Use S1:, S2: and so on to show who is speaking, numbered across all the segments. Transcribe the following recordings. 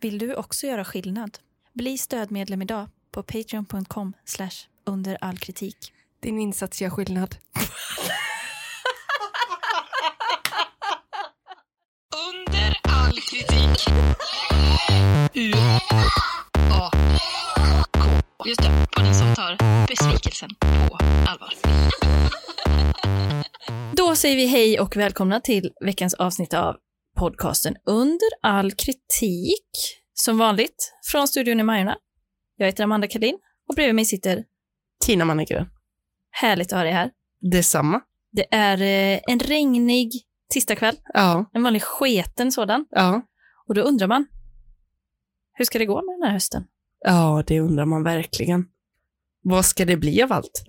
S1: Vill du också göra skillnad? Bli stödmedlem idag på patreon.com under all kritik.
S2: Din insats gör skillnad.
S3: Under all kritik. U A K. Just det, podden som tar besvikelsen på allvar.
S1: Då säger vi hej och välkomna till veckans avsnitt av podcasten Under all kritik. Som vanligt från studion i Majorna. Jag heter Amanda Kalin och bredvid mig sitter
S2: Tina Mannegren.
S1: härligt att ha dig här.
S2: Detsamma.
S1: Det är eh, en regnig tisdagkväll,
S2: Ja,
S1: en vanlig sketen sådan.
S2: ja.
S1: Och då undrar man, hur ska det gå med den här hösten?
S2: Ja, det undrar man verkligen. Vad ska det bli av allt?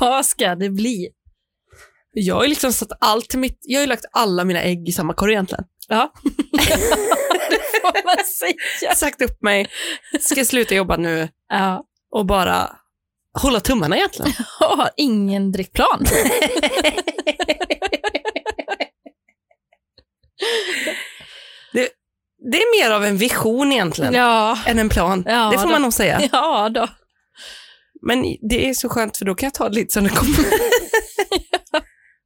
S1: Vad ska det bli?
S2: Jag har ju liksom satt allt mitt, jag har ju lagt alla mina ägg i samma korg egentligen.
S1: Ja, det får man säga.
S2: Sagt upp mig, ska sluta jobba nu
S1: Ja,
S2: och bara hålla tummarna egentligen.
S1: och har ingen direkt plan.
S2: Det är mer av en vision egentligen
S1: Ja,
S2: än en plan.
S1: Ja,
S2: det får
S1: då-
S2: man nog säga.
S1: ja då.
S2: Men det är så skönt för då kan jag ta det lite som det kommer.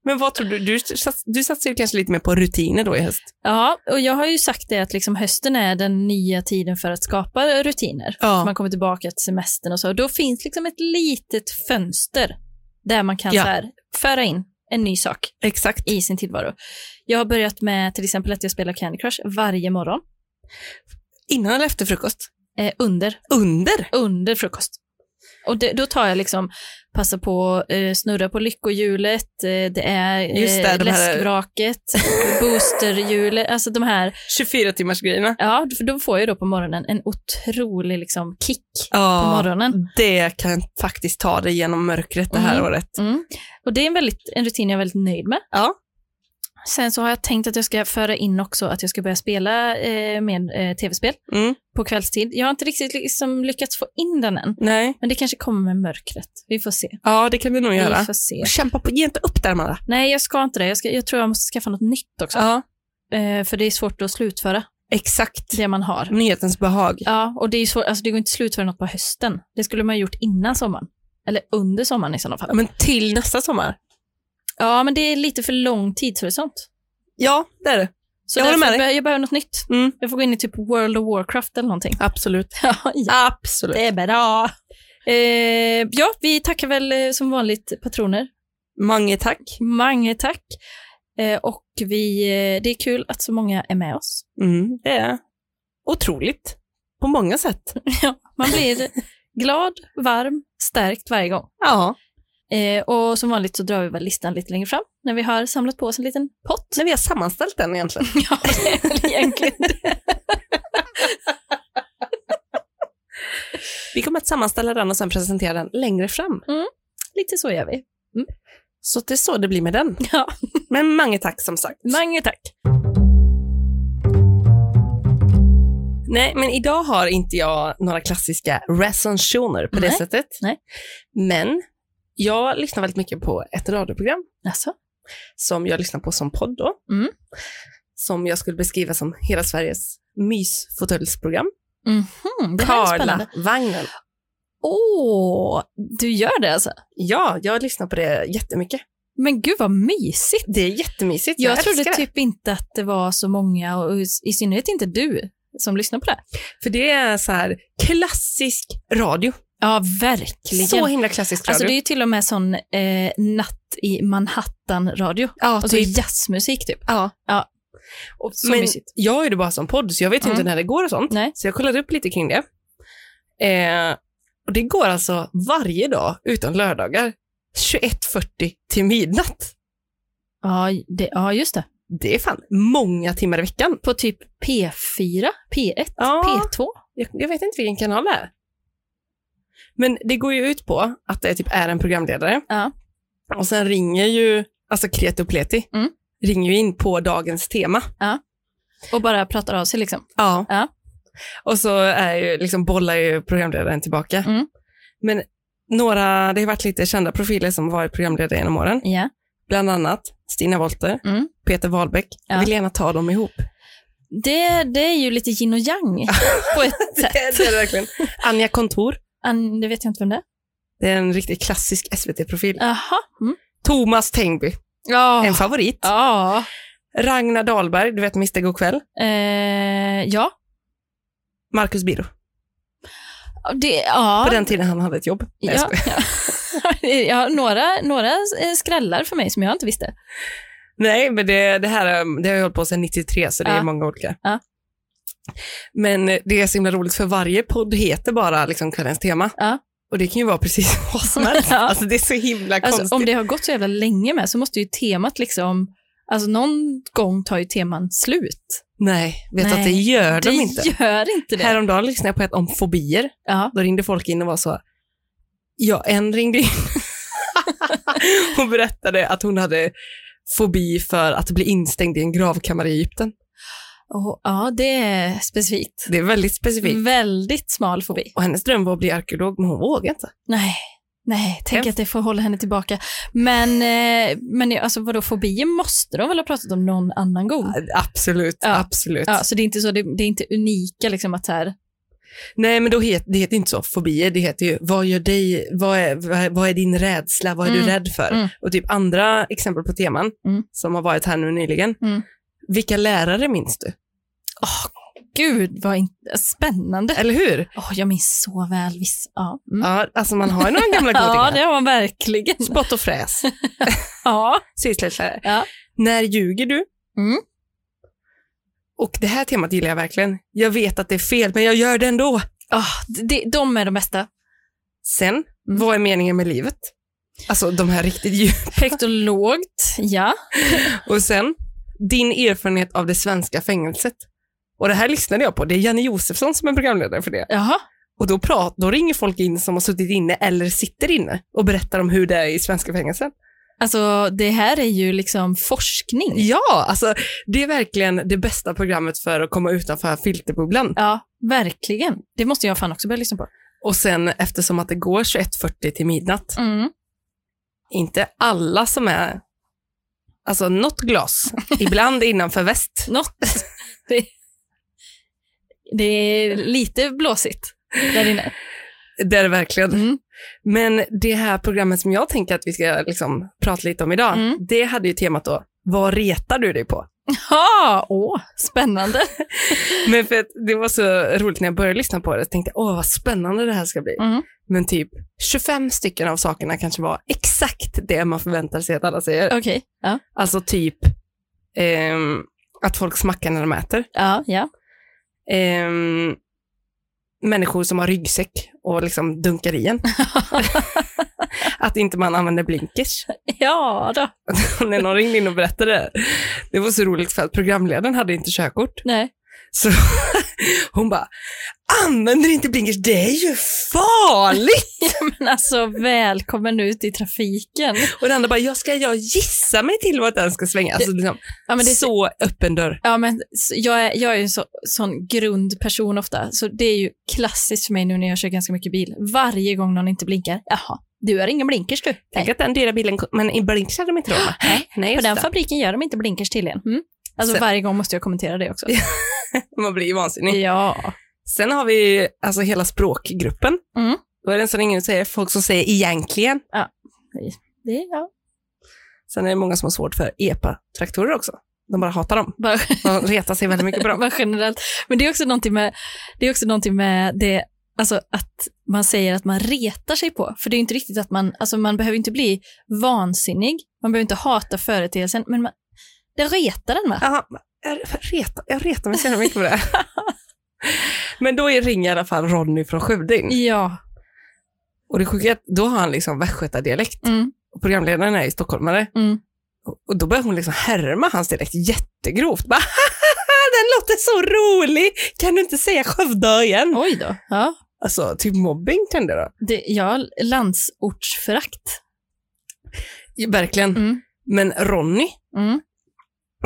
S2: Men vad tror du? Du, sats, du satsar ju kanske lite mer på rutiner då i höst?
S1: Ja, och jag har ju sagt det att liksom hösten är den nya tiden för att skapa rutiner.
S2: Ja.
S1: Man kommer tillbaka till semestern och så. Då finns liksom ett litet fönster där man kan
S2: Ja.
S1: så här, föra in en ny sak
S2: Exakt.
S1: i sin tillvaro. Jag har börjat med till exempel att jag spelar Candy Crush varje morgon
S2: Innan eller efter frukost?
S1: eh, under
S2: Under?
S1: under frukost. Och det, då tar jag liksom, passa på eh, snurra på lyckohjulet, eh, det är
S2: Just det,
S1: eh,
S2: de här-
S1: läskvraket, boosterhjulet, alltså de här,
S2: 24 timmars grejerna.
S1: ja, för då får jag då på morgonen en otrolig liksom kick på
S2: Ja,
S1: morgonen.
S2: det kan faktiskt ta dig genom mörkret det här
S1: Mm.
S2: året.
S1: Mm. Och det är en, väldigt, en rutin jag är väldigt nöjd med.
S2: Ja.
S1: Sen så har jag tänkt att jag ska föra in också att jag ska börja spela eh, med eh, tv-spel
S2: Mm.
S1: på kvällstid. Jag har inte riktigt liksom lyckats få in den än,
S2: Nej.
S1: men det kanske kommer med mörkret. Vi får se.
S2: Ja, det kan du nog
S1: Vi
S2: göra.
S1: får se.
S2: Kämpa på, ge inte upp där Amanda.
S1: Nej, jag ska inte det. Jag, ska, jag tror jag måste skaffa något nytt också.
S2: Ja, Mm.
S1: Eh, för det är svårt att slutföra
S2: exakt.
S1: det man har.
S2: Nyhetens behag.
S1: Ja, och det, är ju svårt, alltså det går inte att slutföra något på hösten. Det skulle man ha gjort innan sommaren. Eller under sommaren i sådana
S2: Ja,
S1: fall.
S2: men till nästa sommar.
S1: Ja, men det är lite för lång tidshorisont.
S2: Ja, det är det.
S1: Så
S2: Jag håller
S1: därför
S2: med dig.
S1: bör- Jag behöver något nytt.
S2: Mm.
S1: Jag får gå in i typ World of Warcraft eller någonting.
S2: Absolut.
S1: Ja,
S2: Absolut.
S1: det är bra. Eh, ja, vi tackar väl eh, som vanligt patroner.
S2: Mange tack.
S1: Mange tack. Eh, och vi, eh, det är kul att så många är med oss.
S2: Mm, det är otroligt. På många sätt.
S1: Man blir glad, varm, stärkt varje gång.
S2: Ja.
S1: Eh, och som vanligt så drar vi väl listan lite längre fram när vi har samlat på oss en liten pott.
S2: När vi har sammanställt den egentligen.
S1: Ja, det är väl egentligen det.
S2: Vi kommer att sammanställa den och sen presentera den längre fram.
S1: Lite så gör vi.
S2: Så det är så det blir med den.
S1: Ja.
S2: Men många tack som sagt.
S1: Mange tack.
S2: Nej, men idag har inte jag några klassiska recensioner på det
S1: Nej.
S2: sättet.
S1: Nej.
S2: Men jag lyssnar väldigt mycket på ett radioprogram
S1: Alltså?
S2: som jag lyssnar på som podd då.
S1: Mm.
S2: Som jag skulle beskriva som hela Sveriges mysfåtöljsprogram.
S1: Mhm, det här är spännande.
S2: Vagnen.
S1: Åh, du gör det alltså?
S2: Ja, jag lyssnar på det jättemycket.
S1: Men gud vad mysigt.
S2: Det är jättemysigt.
S1: Jag, trodde
S2: älskar det.
S1: typ inte att det var så många och i i synnerhet inte du som lyssnar på det.
S2: För det är så här klassisk radio.
S1: Ja, verkligen.
S2: Så himla klassisk radio.
S1: alltså det är ju till och med sån eh, natt i Manhattan-radio.
S2: ja,
S1: Och så
S2: typ.
S1: jazzmusik typ.
S2: Ja.
S1: Ja. Och så
S2: men
S1: mysigt.
S2: jag har ju det bara som podd, så jag vet ju
S1: Mm.
S2: inte när det går och sånt.
S1: Nej.
S2: Så jag kollade upp lite kring det. Eh, och det går alltså varje dag, utan lördagar, 21.40 till midnatt.
S1: Ja, det, ja, just det.
S2: Det är fan många timmar i veckan.
S1: På typ P4, P1,
S2: Ja.
S1: P2.
S2: Jag, jag vet inte vilken kanal det är. Men det går ju ut på att det typ är en programledare.
S1: Ja.
S2: Och sen ringer ju, alltså Kreti och Pleti,
S1: Mm.
S2: ringer ju in på dagens tema.
S1: Och bara pratar av sig liksom.
S2: Ja.
S1: Ja.
S2: Och så är ju, liksom bollar ju programledaren tillbaka.
S1: Mm.
S2: Men några, det har varit lite kända profiler som varit programledare genom åren.
S1: Ja.
S2: Bland annat Stina Wollter,
S1: Mm.
S2: Peter Wahlbeck.
S1: Ja.
S2: Jag vill gärna ta dem ihop.
S1: Det, det är ju lite yin och yang på ett sätt.
S2: Det är det verkligen. Anja Kontor.
S1: An, det vet jag inte vem det är.
S2: Det är en riktigt klassisk SVT-profil.
S1: Jaha. Mm.
S2: Thomas Tengby.
S1: Ja.
S2: En favorit.
S1: Ja.
S2: Ragnar Dahlberg, du vet Mr Go'kväll.
S1: Eh, ja.
S2: Marcus Biro.
S1: Det, ja.
S2: På den tiden han hade ett jobb. Nej, jag
S1: Ja,
S2: skojar.
S1: ja. ja, några, några eh, skrällar för mig som jag inte visste.
S2: Nej, men det, det här um, det har jag hållit på sedan 93, så det är
S1: Ja.
S2: många olika.
S1: Ja.
S2: Men eh, det är så himla roligt, för varje podd heter bara liksom kvällens tema.
S1: Ja.
S2: Och det kan ju vara precis vad som helst.
S1: Ja.
S2: Alltså det är så himla konstigt.
S1: Alltså, om det har gått så jävla länge med så måste ju temat liksom, alltså någon gång tar ju teman slut.
S2: Nej, vet du
S1: Nej,
S2: att det gör
S1: det
S2: de inte.
S1: gör inte det.
S2: Häromdagen lyssnade jag på ett om fobier.
S1: Ja.
S2: Då ringde folk in och var så, ja, en ringde in. hon berättade att hon hade fobi för att bli instängd i en gravkammare i Egypten.
S1: Och, ja, det är specifikt.
S2: Det är väldigt specifikt.
S1: Väldigt smal fobi.
S2: Och hennes dröm var att bli arkeolog, men hon vågade inte.
S1: Nej, nej, tänk
S2: Hemskt.
S1: att det får hålla henne tillbaka. Men, eh, men alltså vadå, fobier måste de väl ha pratat om någon annan gång?
S2: Absolut,
S1: Ja.
S2: absolut.
S1: Ja, så det är inte så, det, det är inte unika liksom att så här,
S2: Nej, men då het, det heter inte så, fobier, det heter ju vad gör dig, vad är, vad är, vad är din rädsla, vad är
S1: Mm,
S2: du rädd för?
S1: mm.
S2: Och typ andra exempel på teman
S1: Mm.
S2: som har varit här nu nyligen.
S1: Mm.
S2: Vilka lärare minns du?
S1: gud vad in- spännande.
S2: Eller hur?
S1: Åh, jag minns så väl vissa. Ja, mm.
S2: Ja, alltså man har ju några gamla
S1: ja, det
S2: godingar.
S1: har man verkligen.
S2: Spott och fräs,
S1: Ja.
S2: sysslare.
S1: Ja.
S2: När ljuger du?
S1: Mm.
S2: Och det här temat gillar jag verkligen. Jag vet att det är fel, men jag gör det ändå.
S1: Ah, det, de är de bästa.
S2: Sen,
S1: Mm.
S2: vad är meningen med livet? Alltså de här riktigt djup.
S1: Högt och lågt, ja.
S2: Och sen, din erfarenhet av det svenska fängelset. Och det här lyssnade jag på. Det är Janne Josefsson som är programledare för det.
S1: Jaha.
S2: Och då, prat, då ringer folk in som har suttit inne eller sitter inne och berättar om hur det är i svenska fängelser.
S1: Alltså, det här är ju liksom forskning.
S2: Ja, alltså det är verkligen det bästa programmet för att komma utanför filterbubblan.
S1: Ja, verkligen. Det måste jag fan också börja lyssna på.
S2: Och sen eftersom att det går 21.40 till midnatt,
S1: Mm.
S2: inte alla som är, alltså något glas, ibland innanför väst.
S1: Något. Det, det är lite blåsigt där inne.
S2: Det är det verkligen.
S1: Mm.
S2: Men det här programmet som jag tänker att vi ska liksom prata lite om idag,
S1: Mm.
S2: det hade ju temat då, vad retar du dig på?
S1: Ja, åh, spännande.
S2: Men för att det var så roligt när jag började lyssna på det, tänkte jag, åh vad spännande det här ska bli.
S1: Mm.
S2: Men typ 25 stycken av sakerna kanske var exakt det man förväntar sig att alla säger.
S1: Okej. Ja,
S2: Alltså typ ehm, att folk smackar när de äter.
S1: ja, ja.
S2: Ehm, människor som har ryggsäck och liksom dunkar i en. att inte man använder blinkers.
S1: Ja då.
S2: När någon ringde in och berättade det. Det var så roligt för att programledaren hade inte körkort.
S1: Nej.
S2: Så hon bara, använder inte blinkers, det är ju farligt!
S1: Men alltså, välkommen ut i trafiken.
S2: Och den andra bara, jag ska jag gissa mig till vart den ska svänga? Alltså, liksom,
S1: Ja, men det är så...
S2: så öppen dörr.
S1: Ja, men s- jag är, jag är ju en så, sån grundperson ofta, så det är ju klassiskt för mig nu när jag kör ganska mycket bil. Varje gång någon inte blinkar, jaha, du har ingen blinkers du.
S2: Tänk att den dyra bilen, kom- men i blinkers hade de inte råd med.
S1: Nej,
S2: Nej,
S1: på
S2: just
S1: den
S2: det.
S1: fabriken gör de inte blinkers till en. Mm. Alltså
S2: Så-
S1: varje gång måste jag kommentera det också.
S2: Man blir ju vansinnig.
S1: Ja.
S2: Sen har vi alltså hela språkgruppen.
S1: Mm.
S2: Då är det en som ringer och säger folk som säger egentligen.
S1: Det, ja.
S2: Sen är det många som har svårt för EPA-traktorer också. De bara hatar dem.
S1: Bara,
S2: De retar sig väldigt mycket på dem.
S1: bara generellt. Men det är också någonting med det, är också någonting med det alltså att man säger att man retar sig på. För det är ju inte riktigt att man, alltså man behöver inte bli vansinnig, man behöver inte hata företeelsen, men man, det retar den va?
S2: Aha, jag, retar, jag retar mig så jävla mycket på det. här. Men då är- ringer i alla fall Ronny från Skövde in.
S1: Ja.
S2: Och det sjuka är att då har han liksom västgötadialekt.
S1: Mm,
S2: Och programledaren är ju stockholmare.
S1: mm.
S2: Och- Och då börjar hon liksom härma hans dialekt jättegrovt. Bara, den låter så rolig! Kan du inte säga Skövde igen?
S1: Oj då. Ja.
S2: Alltså, typ mobbing kan det då.
S1: Det, ja, landsortsförakt.
S2: Ja, Verkligen.
S1: Mm.
S2: Men Ronny,
S1: Mm.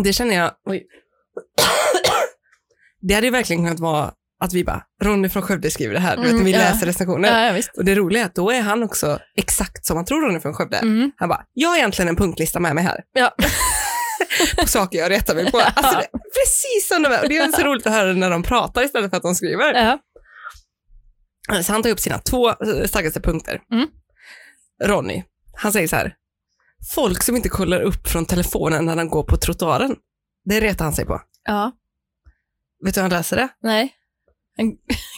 S2: det känner jag... Oj. Det hade ju verkligen kunnat vara att vi bara, Ronny från Skövde skriver det här. Du vet,
S1: Mm,
S2: vi
S1: ja.
S2: läser recensioner.
S1: Ja, ja, visst.
S2: Och det roliga är att då är han också exakt som man tror Ronny från Skövde.
S1: Mm.
S2: Han bara, jag har egentligen en punktlista med mig här.
S1: Ja.
S2: på saker jag retar mig på. Alltså, det, precis som de är. Och Det är så roligt att höra när de pratar istället för att de skriver.
S1: Ja.
S2: Så han tar upp sina två eh, starkaste punkter.
S1: Mm.
S2: Ronny, han säger så här. Folk som inte kollar upp från telefonen när de går på trottoaren. Det retar han sig på.
S1: ja.
S2: Vet du hur han läser det?
S1: Nej.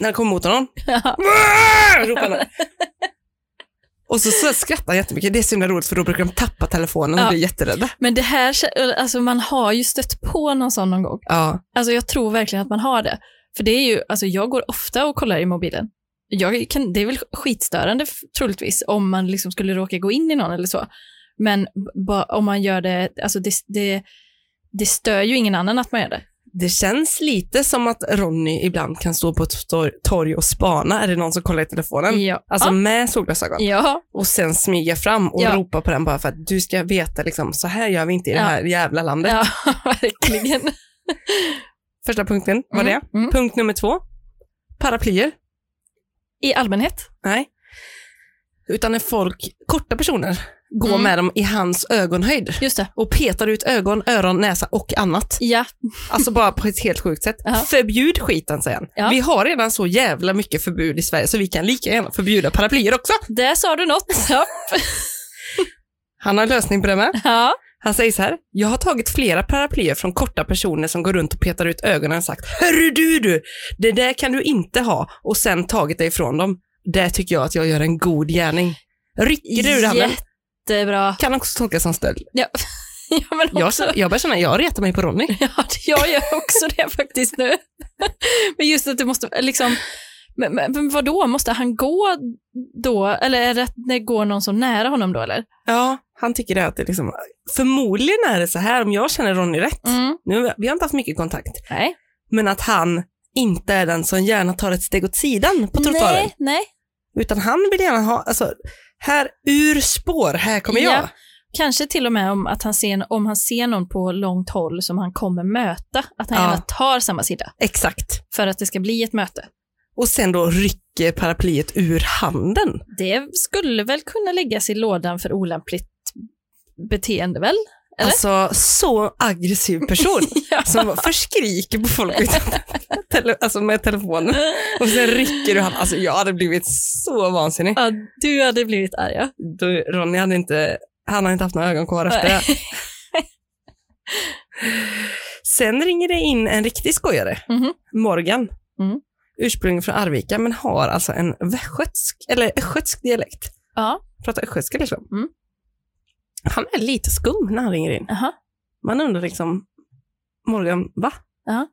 S2: När han kommer mot honom.
S1: Ja.
S2: "Bäh!" ropar han. Och så, så skrattar han jättemycket. Det är så himla roligt för då brukar de tappa telefonen och
S1: Ja.
S2: blir jätterädda.
S1: Men det här, alltså man har ju stött på någon sån någon gång.
S2: Ja.
S1: Alltså jag tror verkligen att man har det. För det är ju, alltså jag går ofta och kollar i mobilen. Jag kan, det är väl skitstörande f- troligtvis om man liksom skulle råka gå in i någon eller så. Men ba, om man gör det, alltså det, det, det stör ju ingen annan att man gör det.
S2: Det känns lite som att Ronny ibland kan stå på ett tor- torg och spana. Är det någon som kollar i telefonen?
S1: Ja.
S2: Alltså
S1: ja.
S2: med solglasögon.
S1: ja.
S2: och sen smyga fram och
S1: Ja.
S2: ropa på den bara för att du ska veta liksom, så här gör vi inte i det
S1: Ja.
S2: här jävla landet.
S1: Ja, verkligen.
S2: Första punkten var det.
S1: Mm, mm.
S2: Punkt nummer två, paraplyer.
S1: I allmänhet.
S2: Nej. Utan när folk, korta personer, går
S1: Mm.
S2: med dem i hans ögonhöjd
S1: Just det.
S2: och petar ut ögon, öron, näsa och annat.
S1: Ja,
S2: Alltså bara på ett helt sjukt sätt.
S1: Ja.
S2: Förbjud skiten, säger han.
S1: Ja.
S2: Vi har redan så jävla mycket förbud i Sverige så vi kan lika gärna förbjuda paraplyer också.
S1: där sa du något. Ja.
S2: Han har en lösning på det med.
S1: ja.
S2: Han säger så här, jag har tagit flera paraplyer från korta personer som går runt och petar ut ögonen och sagt Hörru du du, det där kan du inte ha och sen tagit dig ifrån dem. Där tycker jag att jag gör en god gärning. Rycker du ur handen?
S1: Jättebra.
S2: Kan också tolkas som stöld.
S1: Ja. Ja, men
S2: Jag,
S1: också,
S2: jag börjar känna, jag retar mig på Ronny.
S1: Ja, jag gör också det faktiskt nu. Men just att det måste, liksom, men, men men vadå, måste han gå då, eller är det att det går någon så nära honom då eller?
S2: Ja, han tycker det att det liksom, förmodligen är det så här om jag känner Ronny rätt.
S1: Mm.
S2: Nu, vi har inte haft mycket kontakt,
S1: Nej.
S2: men att han inte är den som gärna tar ett steg åt sidan på trottoaren.
S1: nej, nej.
S2: Utan han vill gärna ha, alltså, här ur spår, här kommer
S1: Ja.
S2: jag.
S1: Kanske till och med om, att han ser, om han ser någon på långt håll som han kommer möta, att han
S2: Ja.
S1: gärna tar samma sida
S2: Exakt.
S1: för att det ska bli ett möte.
S2: och sen då rycker paraplyet ur handen.
S1: Det skulle väl kunna läggas i lådan för olämpligt beteende väl? Eller?
S2: Alltså så aggressiv person
S1: Ja.
S2: som bara förskriker på folk utan- tele- alltså med telefonen och sen rycker du handen. Alltså jag hade blivit så vansinnig.
S1: Ja, du hade blivit arg ja.
S2: Du, Ronny hade inte, han hade inte haft några ögon kvar efter det. Sen ringer det in en riktig skojare,
S1: Mhm.
S2: Morgan.
S1: Mm.
S2: Ursprungligen från Arvika men har alltså en västgötsk, eller östgötsk dialekt.
S1: Ja.
S2: Pratar östgötska liksom.
S1: Mm.
S2: Han är lite skum när han ringer in.
S1: Aha.
S2: Man undrar liksom, Morgan, va?
S1: Ja.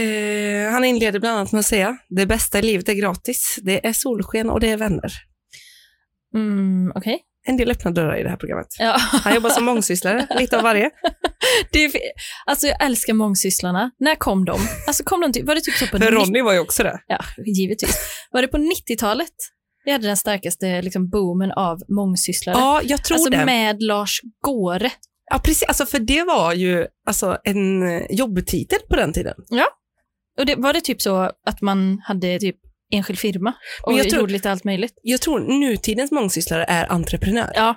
S2: Eh, han inleder bland annat med att säga, det bästa i livet är gratis, det är solsken och det är vänner.
S1: Mm, Okej.
S2: En del öppna dörrar i det här programmet.
S1: Ja.
S2: Han jobbar som mångsysslare, lite av varje.
S1: Det är, alltså jag älskar mångsysslarna. När kom de? Alltså kom de till, var det typ så på
S2: För
S1: 90
S2: Ronny var ju också det.
S1: ja, givetvis. Var det på 90-talet? Vi hade den starkaste liksom, boomen av mångsysslare.
S2: Ja, jag tror
S1: alltså
S2: det.
S1: med Lars Gåre.
S2: Ja, precis. Alltså, för det var ju alltså, en eh, jobbtitel på den tiden.
S1: Och det, var det typ så att man hade typ enskild firma och
S2: Men jag tror-
S1: gjorde lite allt möjligt?
S2: Jag tror nutidens mångsysslare är entreprenör.
S1: Ja.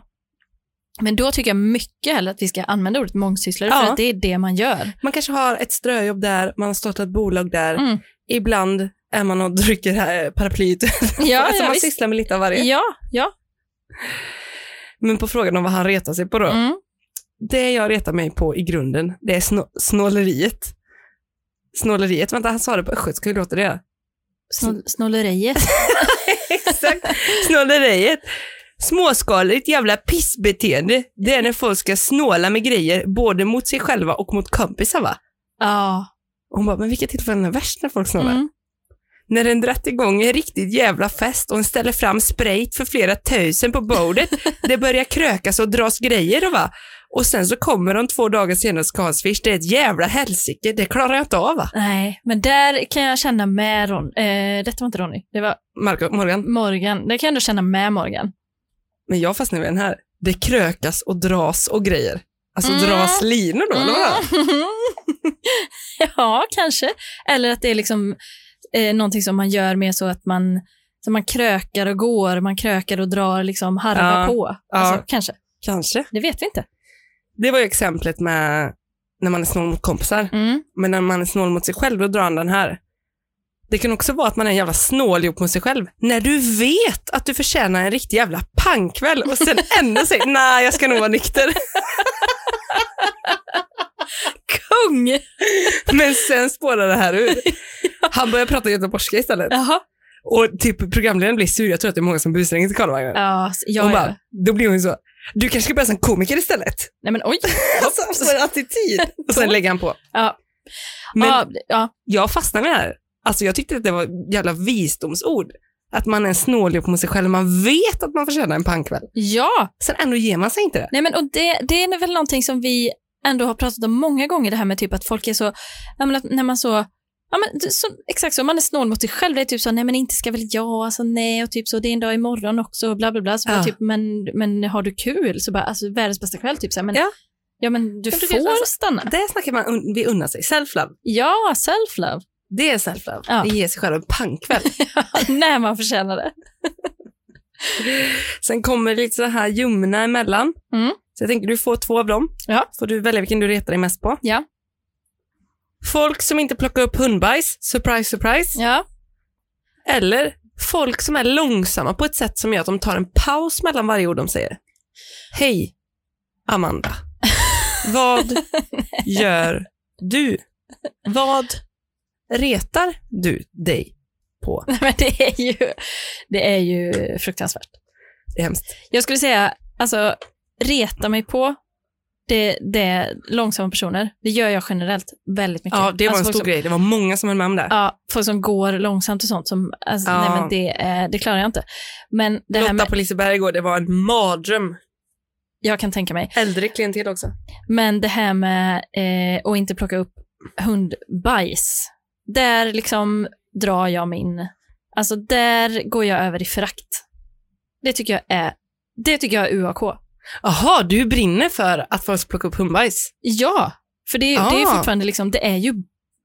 S1: Men då tycker jag mycket hellre att vi ska använda ordet mångsysslare
S2: Ja.
S1: för att det är det man gör.
S2: Man kanske har ett ströjobb där, man har startat bolag där.
S1: Mm.
S2: Ibland är man och dricker här paraplyet. alltså,
S1: ja,
S2: man
S1: visst.
S2: sysslar med lite av varje.
S1: Ja, ja.
S2: Men på frågan om vad han retar sig på då.
S1: Mm.
S2: Det jag retar mig på i grunden, det är snå- snåleriet. Snåleriet, vänta han sa det på östgötska, hur låter det?
S1: Snå- Snåleriet.
S2: Exakt. Snåleriet. Småskaligt jävla pissbeteende, det är när folk ska snåla med grejer både mot sig själva och mot kompisar va?
S1: Ja.
S2: Och hon bara, men vilka tillfällen är värst när folk snålar?
S1: Mm.
S2: När den dratt igång en riktigt jävla fest och en ställer fram sprayt för flera tusen på bordet, det börjar krökas och dras grejer och va? Och sen så kommer de två dagar senare och ska ha en swish, det är ett jävla helsike, det klarar jag inte av va?
S1: Nej, men där kan jag känna med Ron. Eh, detta var inte Ronny, det var
S2: Marco, Morgan,
S1: Morgan. Där kan jag ändå känna med Morgan.
S2: men jag fastnar vid den här. Det krökas och dras och grejer. Alltså
S1: Mm.
S2: dras linor då, eller vad?
S1: ja, kanske. Eller att det är liksom eh, någonting som man gör mer så att man, så man krökar och går, man krökar och drar liksom harva
S2: Ja,
S1: på. Alltså,
S2: ja.
S1: Kanske,
S2: Kanske.
S1: det vet vi inte.
S2: Det var ju exemplet med när man är snål mot kompisar.
S1: Mm.
S2: Men när man är snål mot sig själv, då drar han den här. Det kan också vara att man är en jävla snåljåp mot sig själv. När du vet att du förtjänar en riktig jävla pangkväll och sen ändå säger nej, jag ska nog vara nykter.
S1: Kung!
S2: Men sen spårar det här ur. Han börjar prata göteborgska istället.
S1: Jaha.
S2: Och typ programledaren blir sur. Jag tror att det är många som busringer till Karlavagnen.
S1: Ja, s- ja,
S2: Hon
S1: ja.
S2: bara, då blir hon ju så, du kanske ska börja som komiker istället.
S1: Nej men oj.
S2: Alltså, för attityd. Och sen lägger han på.
S1: Ja.
S2: Men
S1: ja, ja.
S2: jag fastnade med det här. Alltså jag tyckte att det var jävla visdomsord. Att man är snåljåp mot sig själv, man vet att man förtjänar en pangkväll.
S1: ja.
S2: Sen ändå ger man sig inte det.
S1: Nej men och det, det är väl någonting som vi ändå har pratat om många gånger, det här med typ att folk är så, ja men att när man så, ja men det- så, exakt så, man är snål mot sig själv, det är typ så, nej men inte ska väl jag, alltså nej, och typ så, det är en dag imorgon också, och bla bla bla, så bara
S2: Ja.
S1: typ, men, men har du kul? Så bara, alltså världens bästa kväll, typ så här, men
S2: Ja.
S1: ja, men du
S2: Men
S1: får
S2: det finns- alltså-
S1: stanna.
S2: Det snackar man, un- vi unnar sig. Self-love.
S1: Ja, self-love,
S2: Det är self-love.
S1: Ja.
S2: Det ger sig själv en pangkväll.
S1: när man förtjänar det.
S2: Sen kommer det lite så här ljumna emellan.
S1: Mm.
S2: Så jag tänker du får två av dem.
S1: Ja.
S2: Får du välja vilken du retar dig mest på.
S1: Ja.
S2: Folk som inte plockar upp hundbajs, surprise surprise.
S1: Ja,
S2: Eller folk som är långsamma på ett sätt som gör att de tar en paus mellan varje ord de säger. Hej, Amanda. Vad gör du? Vad retar du dig på?
S1: nej, men det är ju, det är ju fruktansvärt.
S2: Det är hemskt.
S1: Jag skulle säga, alltså reta mig på det, det långsamma personer. Det gör jag generellt väldigt mycket.
S2: Ja, det var
S1: alltså,
S2: en
S1: folk
S2: stor
S1: som,
S2: grej. Det var många som höll med om det.
S1: Ja, folk som går långsamt och sånt. Som, alltså,
S2: Ja.
S1: Nej, men det, eh, det klarar jag inte. Men det här
S2: Lotta
S1: med,
S2: på Liseberg igår, det var en mardröm.
S1: jag kan tänka mig.
S2: Äldre klientel också.
S1: Men det här med eh, att inte plocka upp hundbajs. Där liksom drar jag min... Alltså där går jag över i förakt. Det tycker jag är, det tycker jag är UAK.
S2: Jaha, du brinner för att folk ska plocka upp hundbajs.
S1: Ja, för det, är- det är ju
S2: Ah.
S1: fortfarande liksom, det är ju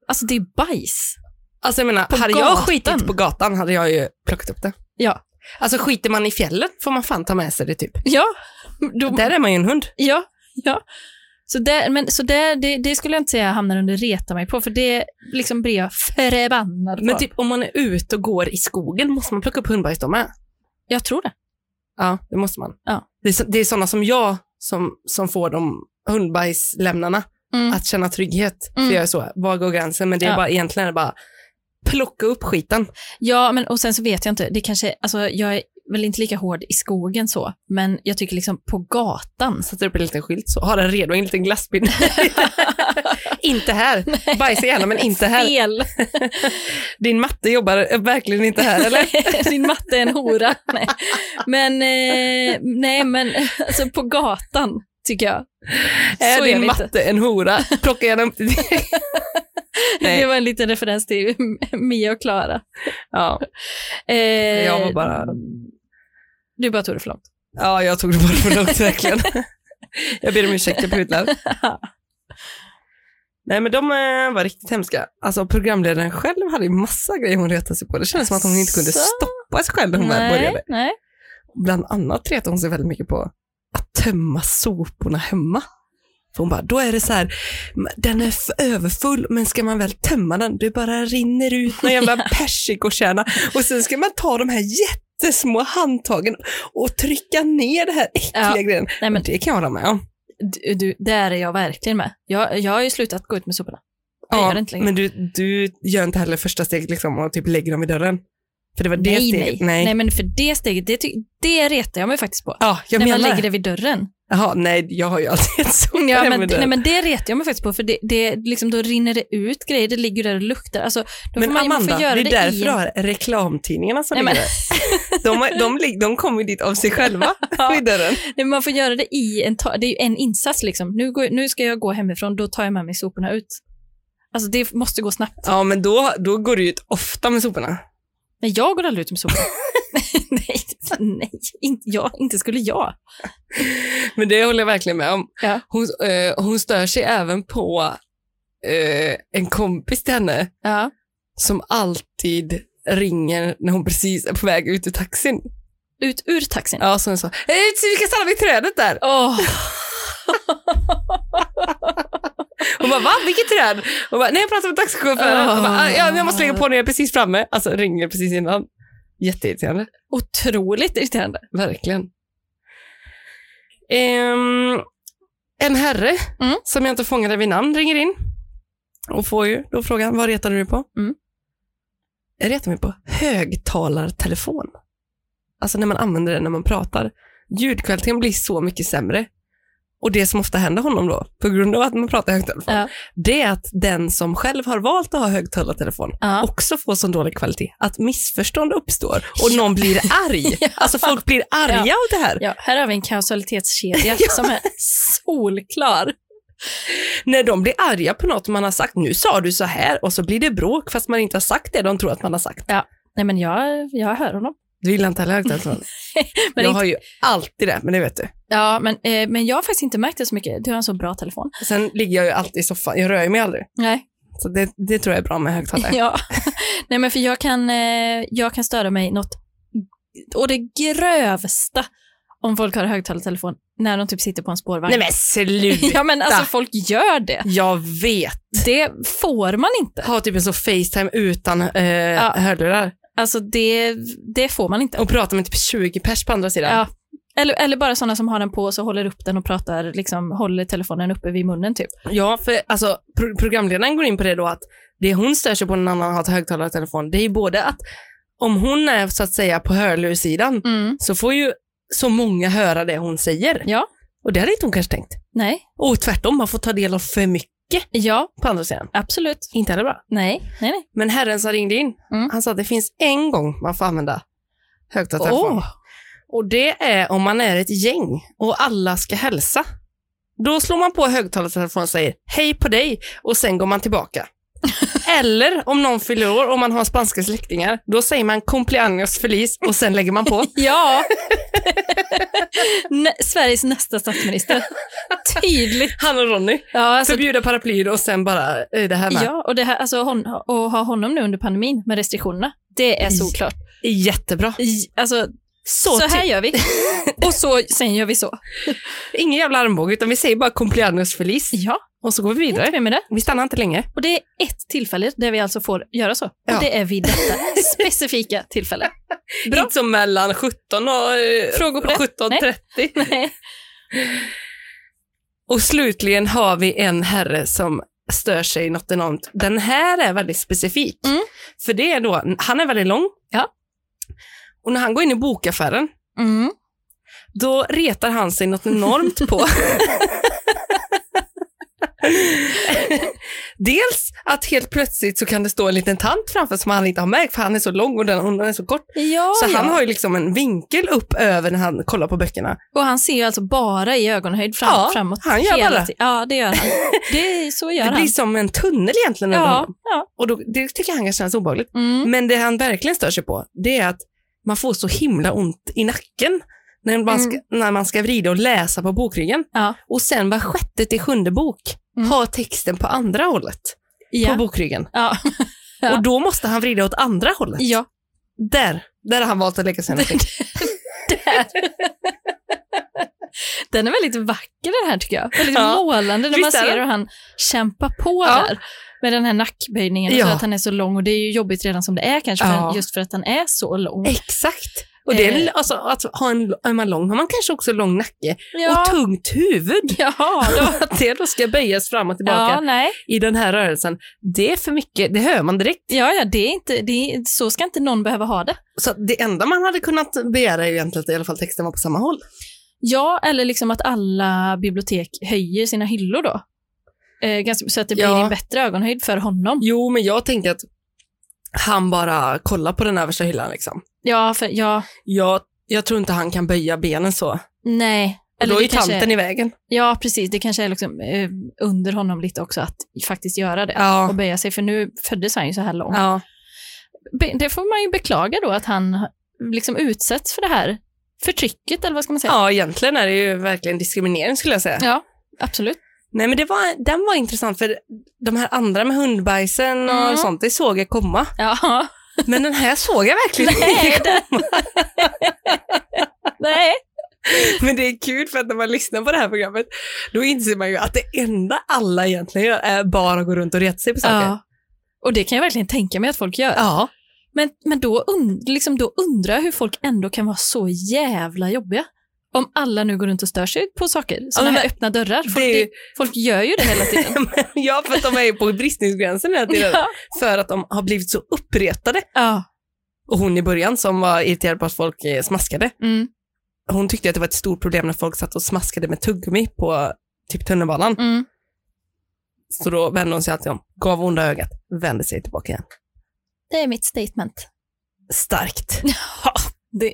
S1: alltså det är bajs.
S2: Alltså jag menar,
S1: På
S2: hade jag
S1: gatan.
S2: skitit på gatan hade jag ju plockat upp det.
S1: Ja.
S2: Alltså skiter man i fjällen får man fan ta med sig det typ.
S1: Ja, då,
S2: Där är man ju en hund.
S1: ja, ja. Så, där, men, så där, det, det skulle jag inte säga hamnar under reta mig på, för det liksom blir jag förbannad på.
S2: Men typ om man är ute och går i skogen måste man plocka upp hundbajs då med.
S1: jag tror det.
S2: Ja, det måste man.
S1: Ja.
S2: Det, är, så- det är sådana som jag som, som får de hundbajslämnarna
S1: Mm.
S2: att känna trygghet.
S1: Mm.
S2: För jag är så, var går gränsen? Men det är
S1: Ja.
S2: bara egentligen är det bara plocka upp skiten.
S1: Ja, men och sen så vet jag inte, det kanske, alltså jag är väl inte lika hård i skogen så, men jag tycker liksom på gatan.
S2: Sätter upp en liten skylt så, ha den redo, en liten glassbit. inte här. Bajsa gärna men inte här.
S1: Fel!
S2: Din matte jobbar eh, verkligen inte här eller?
S1: Din matte är en hora. Nej, men, eh, nej, men alltså på gatan tycker jag.
S2: Eh, Är
S1: Så gör
S2: din
S1: vi inte.
S2: matte en hora? Plocka gärna upp det. Nej.
S1: Det var en liten referens till Mia och Klara.
S2: ja.
S1: Eh,
S2: Jag var bara-
S1: Du bara tog det för långt.
S2: ja, jag tog det bara för långt verkligen. jag ber om ursäkt, jag pudlar. Nej men de eh, var riktigt hemska. Alltså programledaren själv hade ju massa grejer hon retade sig på. Det kändes som att hon inte kunde
S1: Så?
S2: stoppa sig själv när hon väl började.
S1: nej.
S2: Bland annat retade hon sig väldigt mycket på att tömma soporna hemma. För hon bara, då är det så här, den är f- överfull, men ska man väl tömma den, det bara rinner ut någon jävla persikokärna. Och sen ska man ta de här jättesmå handtagen och trycka ner det här äckliga
S1: Ja,
S2: grejen.
S1: nej, men-
S2: det kan jag hålla med om.
S1: Du, du, där är jag verkligen med. Jag, jag har ju slutat gå ut med soporna. Jag gör det
S2: Ja,
S1: inte längre.
S2: men du, du gör inte heller första steget liksom och typ lägger dem i dörren. För det var det
S1: nej, nej,
S2: steget.
S1: nej. men för det steget, det, ty- det retar jag mig faktiskt på.
S2: Ja, jag
S1: när man
S2: menar
S1: lägger
S2: det.
S1: det vid dörren.
S2: Jaha, nej, jag har ju alltid ett sånt
S1: Ja,
S2: hem
S1: men,
S2: i dörren.
S1: nej, men det retar jag mig faktiskt på, för det, det, liksom, då rinner det ut grejer, det ligger där och luktar. Alltså, då får
S2: Men
S1: man, man
S2: Amanda,
S1: får göra
S2: det är därför
S1: i
S2: du
S1: en-
S2: har reklamtidningarna som
S1: Nej, men-
S2: ligger där. De, har- de, lig- de kommer ju dit av sig själva i dörren.
S1: Nej, men man får göra det i en, ta- det är ju en insats liksom. Nu, går, nu ska jag gå hemifrån, då tar jag med mig soporna ut. Alltså det måste gå snabbt.
S2: Ja, men då, då går du ut ofta med soporna.
S1: Men jag går aldrig ut med soporna. nej, nej inte, jag, inte skulle jag.
S2: Men det håller jag verkligen med om.
S1: Ja.
S2: Hon, eh, hon stör sig även på eh, en kompis till henne
S1: Ja.
S2: som alltid ringer när hon precis är på väg ut ur taxin.
S1: Ut ur taxin.
S2: Ja, så hon sa, "Eh, vi kan stanna vid trädet där.
S1: Åh.
S2: Hon bara, va? Vilket träd? Hon bara, nej jag pratar med taxichauffören. Hon bara, "Ah, ja, jag måste lägga på när jag är precis framme. Alltså ringer precis innan. Jätteirriterande.
S1: Otroligt irriterande.
S2: Verkligen. Ehm, en herre
S1: Mm.
S2: som jag inte fångade vid namn ringer in och får ju då frågan, vad retar du dig på?
S1: Mm.
S2: Jag retar mig på högtalartelefon. Alltså när man använder den när man pratar. Ljudkvaliteten blir så mycket sämre. Och det som ofta händer honom då, på grund av att man pratar i högtalartelefon,
S1: Ja.
S2: det är att den som själv har valt att ha högtalartelefon
S1: Ja.
S2: också får sån dålig kvalitet att missförstånd uppstår och någon blir arg. Alltså folk blir arga
S1: Ja.
S2: av det här.
S1: Ja, här har vi en kausalitetskedja som är solklar.
S2: När de blir arga på något man har sagt, nu sa du så här och så blir det bråk fast man inte har sagt det de tror att man har sagt.
S1: Nej, men jag, jag hör honom.
S2: Du gillar inte heller högtalartelefon?
S1: Men,
S2: Jag
S1: inte,
S2: har ju alltid det, men det vet du.
S1: ja, men, eh, men jag har faktiskt inte märkt det så mycket. Du har en så bra telefon.
S2: Sen ligger jag ju alltid i soffan, jag rör ju mig aldrig.
S1: Nej.
S2: Så det, det tror jag är bra med högtalare.
S1: Ja. Nej, men för jag kan, eh, jag kan störa mig något och det grövsta om folk har högtalartelefon när de typ sitter på en spårvagn.
S2: Nej men sluta!
S1: ja, men alltså folk gör det.
S2: Jag vet.
S1: Det får man inte.
S2: Ha typ en så Facetime utan eh, hörlurar
S1: Alltså det, det får man inte.
S2: och prata med typ 20 pers på andra sidan.
S1: Ja. Eller, eller bara sådana som har den på och så håller upp den och pratar, liksom håller telefonen uppe vid munnen typ.
S2: Ja, för alltså, pro- programledaren går in på det då att det hon stör sig på när någon annan har ett högtalartelefon, det är ju både att om hon är så att säga på hörlurssidan
S1: Mm.
S2: så får ju så många höra det hon säger.
S1: Ja.
S2: Och det hade inte hon kanske tänkt.
S1: Nej.
S2: Och tvärtom, man får ta del av för mycket
S1: Ja,
S2: på andra sidan.
S1: absolut.
S2: Inte heller bra.
S1: Nej, nej, nej.
S2: Men herren som ringde in,
S1: Mm.
S2: han sa att det finns en gång man får använda högtalartelefon. Och det är om man är ett gäng och alla ska hälsa. Då slår man på högtalartelefonen och säger hej på dig och sen går man tillbaka. Eller om någon fyller år och man har spanska släktingar, då säger man cumpleaños feliz och sen lägger man på.
S1: Ja. Nä- Sveriges nästa statsminister. Tydligt.
S2: Han och Ronny.
S1: Ja, alltså,
S2: Förbjuda paraplyer och sen bara eh, det här med.
S1: ja och det här, alltså, hon, och ha honom nu under pandemin med restriktionerna. Det är såklart.
S2: Är Jättebra.
S1: I- Alltså, så,
S2: Så,
S1: här
S2: typ.
S1: gör vi. Och så, sen gör vi så.
S2: Ingen jävla armbåge utan vi säger bara cumpleaños feliz
S1: Ja,
S2: och så går vi
S1: jag är
S2: vidare.
S1: inte med det.
S2: Vi stannar inte länge.
S1: Och det är ett tillfälle där vi alltså får göra så. Och
S2: Ja.
S1: det är vid detta specifika tillfälle. Bra.
S2: Inte som mellan 17 och, eh,
S1: Frågor på det?
S2: 17
S1: Nej.
S2: 30.
S1: Nej.
S2: Och slutligen har vi en herre som stör sig något enormt. Den här är väldigt specifik.
S1: Mm.
S2: För det är då, han är väldigt lång.
S1: Ja.
S2: Och när han går in i bokaffären,
S1: Mm.
S2: då retar han sig något enormt på. Dels att helt plötsligt så kan det stå en liten tant framför som han inte har märkt för han är så lång och den, hon är så kort.
S1: Ja,
S2: så
S1: Ah, ja.
S2: han har ju liksom en vinkel upp över när han kollar på böckerna.
S1: Och han ser ju alltså bara i ögonhöjd fram,
S2: Ja,
S1: framåt.
S2: han gör
S1: hela
S2: bara det.
S1: tiden. Ja, det gör han. Det, så gör
S2: Det
S1: han.
S2: blir som en tunnel egentligen. under
S1: Ja,
S2: honom.
S1: ja.
S2: Och då, det tycker han kanske känns obehagligt.
S1: Mm.
S2: Men det han verkligen stör sig på, det är att man får så himla ont i nacken när man ska, när man ska vrida och läsa på bokryggen.
S1: Mm. Ja.
S2: Och sen var sjätte till sjunde bok
S1: Mm.
S2: har texten på andra hållet på
S1: Ja.
S2: bokryggen.
S1: Ja. Ja.
S2: Och då måste han vrida åt andra hållet.
S1: ja,
S2: Där, där har han valt att lägga sin energi.
S1: den är väldigt vacker den här tycker jag. Väldigt
S2: Ja.
S1: målande när
S2: Visst
S1: man
S2: är
S1: ser
S2: den?
S1: hur han kämpar på
S2: Ja.
S1: där med den här nackböjningen och
S2: Ja.
S1: så att han är så lång och det är ju jobbigt redan som det är kanske, för
S2: Ja.
S1: han- just för att han är så lång.
S2: Exakt. Och det är,
S1: Eh.
S2: alltså, att ha en, är man lång har man kanske också lång nacke och
S1: Ja,
S2: tungt huvud.
S1: ja, då,
S2: Och Att det då ska böjas fram och tillbaka
S1: ja, nej.
S2: i den här rörelsen, det är för mycket, det hör man direkt.
S1: ja, ja det är inte, det är, så ska inte någon behöva ha det.
S2: Så att det enda man hade kunnat begära är ju egentligen att i alla fall texten var på samma håll.
S1: Ja, eller liksom att alla bibliotek höjer sina hyllor då. Eh, ganska, så att det blir
S2: Ja.
S1: en bättre ögonhöjd för honom.
S2: Jo, men jag tänker att han bara kollar på den översta hyllan liksom.
S1: Ja, för, ja,
S2: Jag, jag tror inte han kan böja benen så.
S1: nej.
S2: Eller då
S1: det
S2: är
S1: kanske-
S2: tanten i vägen.
S1: Ja, precis. Det kanske är liksom, eh, under honom lite också att faktiskt göra det och
S2: Ja.
S1: böja sig, för nu föddes han ju så här lång.
S2: ja.
S1: Be- Det får man ju beklaga då, att han liksom utsätts för det här förtrycket, eller vad ska man säga?
S2: ja, egentligen är det ju verkligen diskriminering skulle jag säga.
S1: Ja, absolut.
S2: Nej, men det var, den var intressant för de här andra med hundbajsen och
S1: Mm.
S2: sånt, det såg jag komma.
S1: Ja,
S2: Men den här såg jag verkligen
S1: Nej,
S2: inte komma.
S1: nej.
S2: Men det är kul för att när man lyssnar på det här programmet, då inser man ju att det enda alla egentligen gör är bara att gå runt och reta sig på saker.
S1: Ja. Och det kan jag verkligen tänka mig att folk gör.
S2: Ja.
S1: Men, men då, und, liksom då undrar jag hur folk ändå kan vara så jävla jobbiga. Om alla nu går runt och stör sig på saker, sådana
S2: men-
S1: här öppna dörrar. Folk,
S2: det är ju-
S1: det, folk gör ju det hela tiden.
S2: ja, för att de är ju på bristningsgränsen hela tiden.
S1: ja.
S2: För att de har blivit så uppretade.
S1: Ja.
S2: Och hon i början som var irriterad på att folk eh, smaskade,
S1: Mm,
S2: hon tyckte att det var ett stort problem när folk satt och smaskade med tuggummi på typ tunnelbanan.
S1: mm.
S2: Så då vände hon sig alltid om, gav onda ögat, vände sig tillbaka igen.
S1: Det är mitt statement.
S2: Starkt.
S1: Ja, det,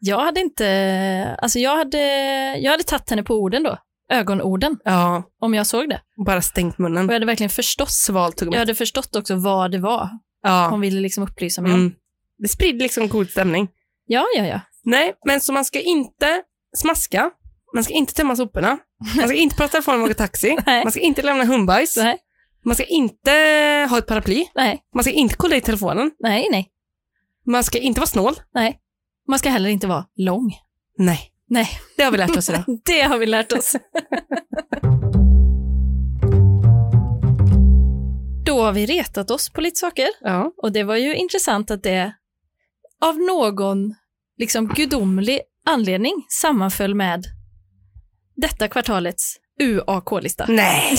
S1: jag hade inte, alltså jag hade, jag hade tagit henne på orden då, ögonorden,
S2: Ja,
S1: om jag såg det.
S2: bara stängt munnen.
S1: Och jag hade verkligen förstått,
S2: Svalt tuggummi.
S1: jag hade förstått också vad det var
S2: Ja.
S1: hon ville liksom upplysa mig om.
S2: Mm. Det sprider liksom god stämning.
S1: Ja, ja, ja.
S2: Nej, men så man ska inte smaska, man ska inte tömma soporna, man ska inte prata telefon och åka taxi,
S1: Nej.
S2: man ska inte lämna hundbajs,
S1: Nej.
S2: man ska inte ha ett paraply,
S1: Nej,
S2: man ska inte kolla i telefonen,
S1: nej, nej,
S2: man ska inte vara snål.
S1: nej. Man ska heller inte vara lång.
S2: Nej,
S1: Nej,
S2: det har vi lärt oss idag.
S1: det har vi lärt oss. Då har vi retat oss på lite saker
S2: ja.
S1: och det var ju intressant att det av någon liksom gudomlig anledning sammanföll med detta kvartalets UAK-lista.
S2: Nej!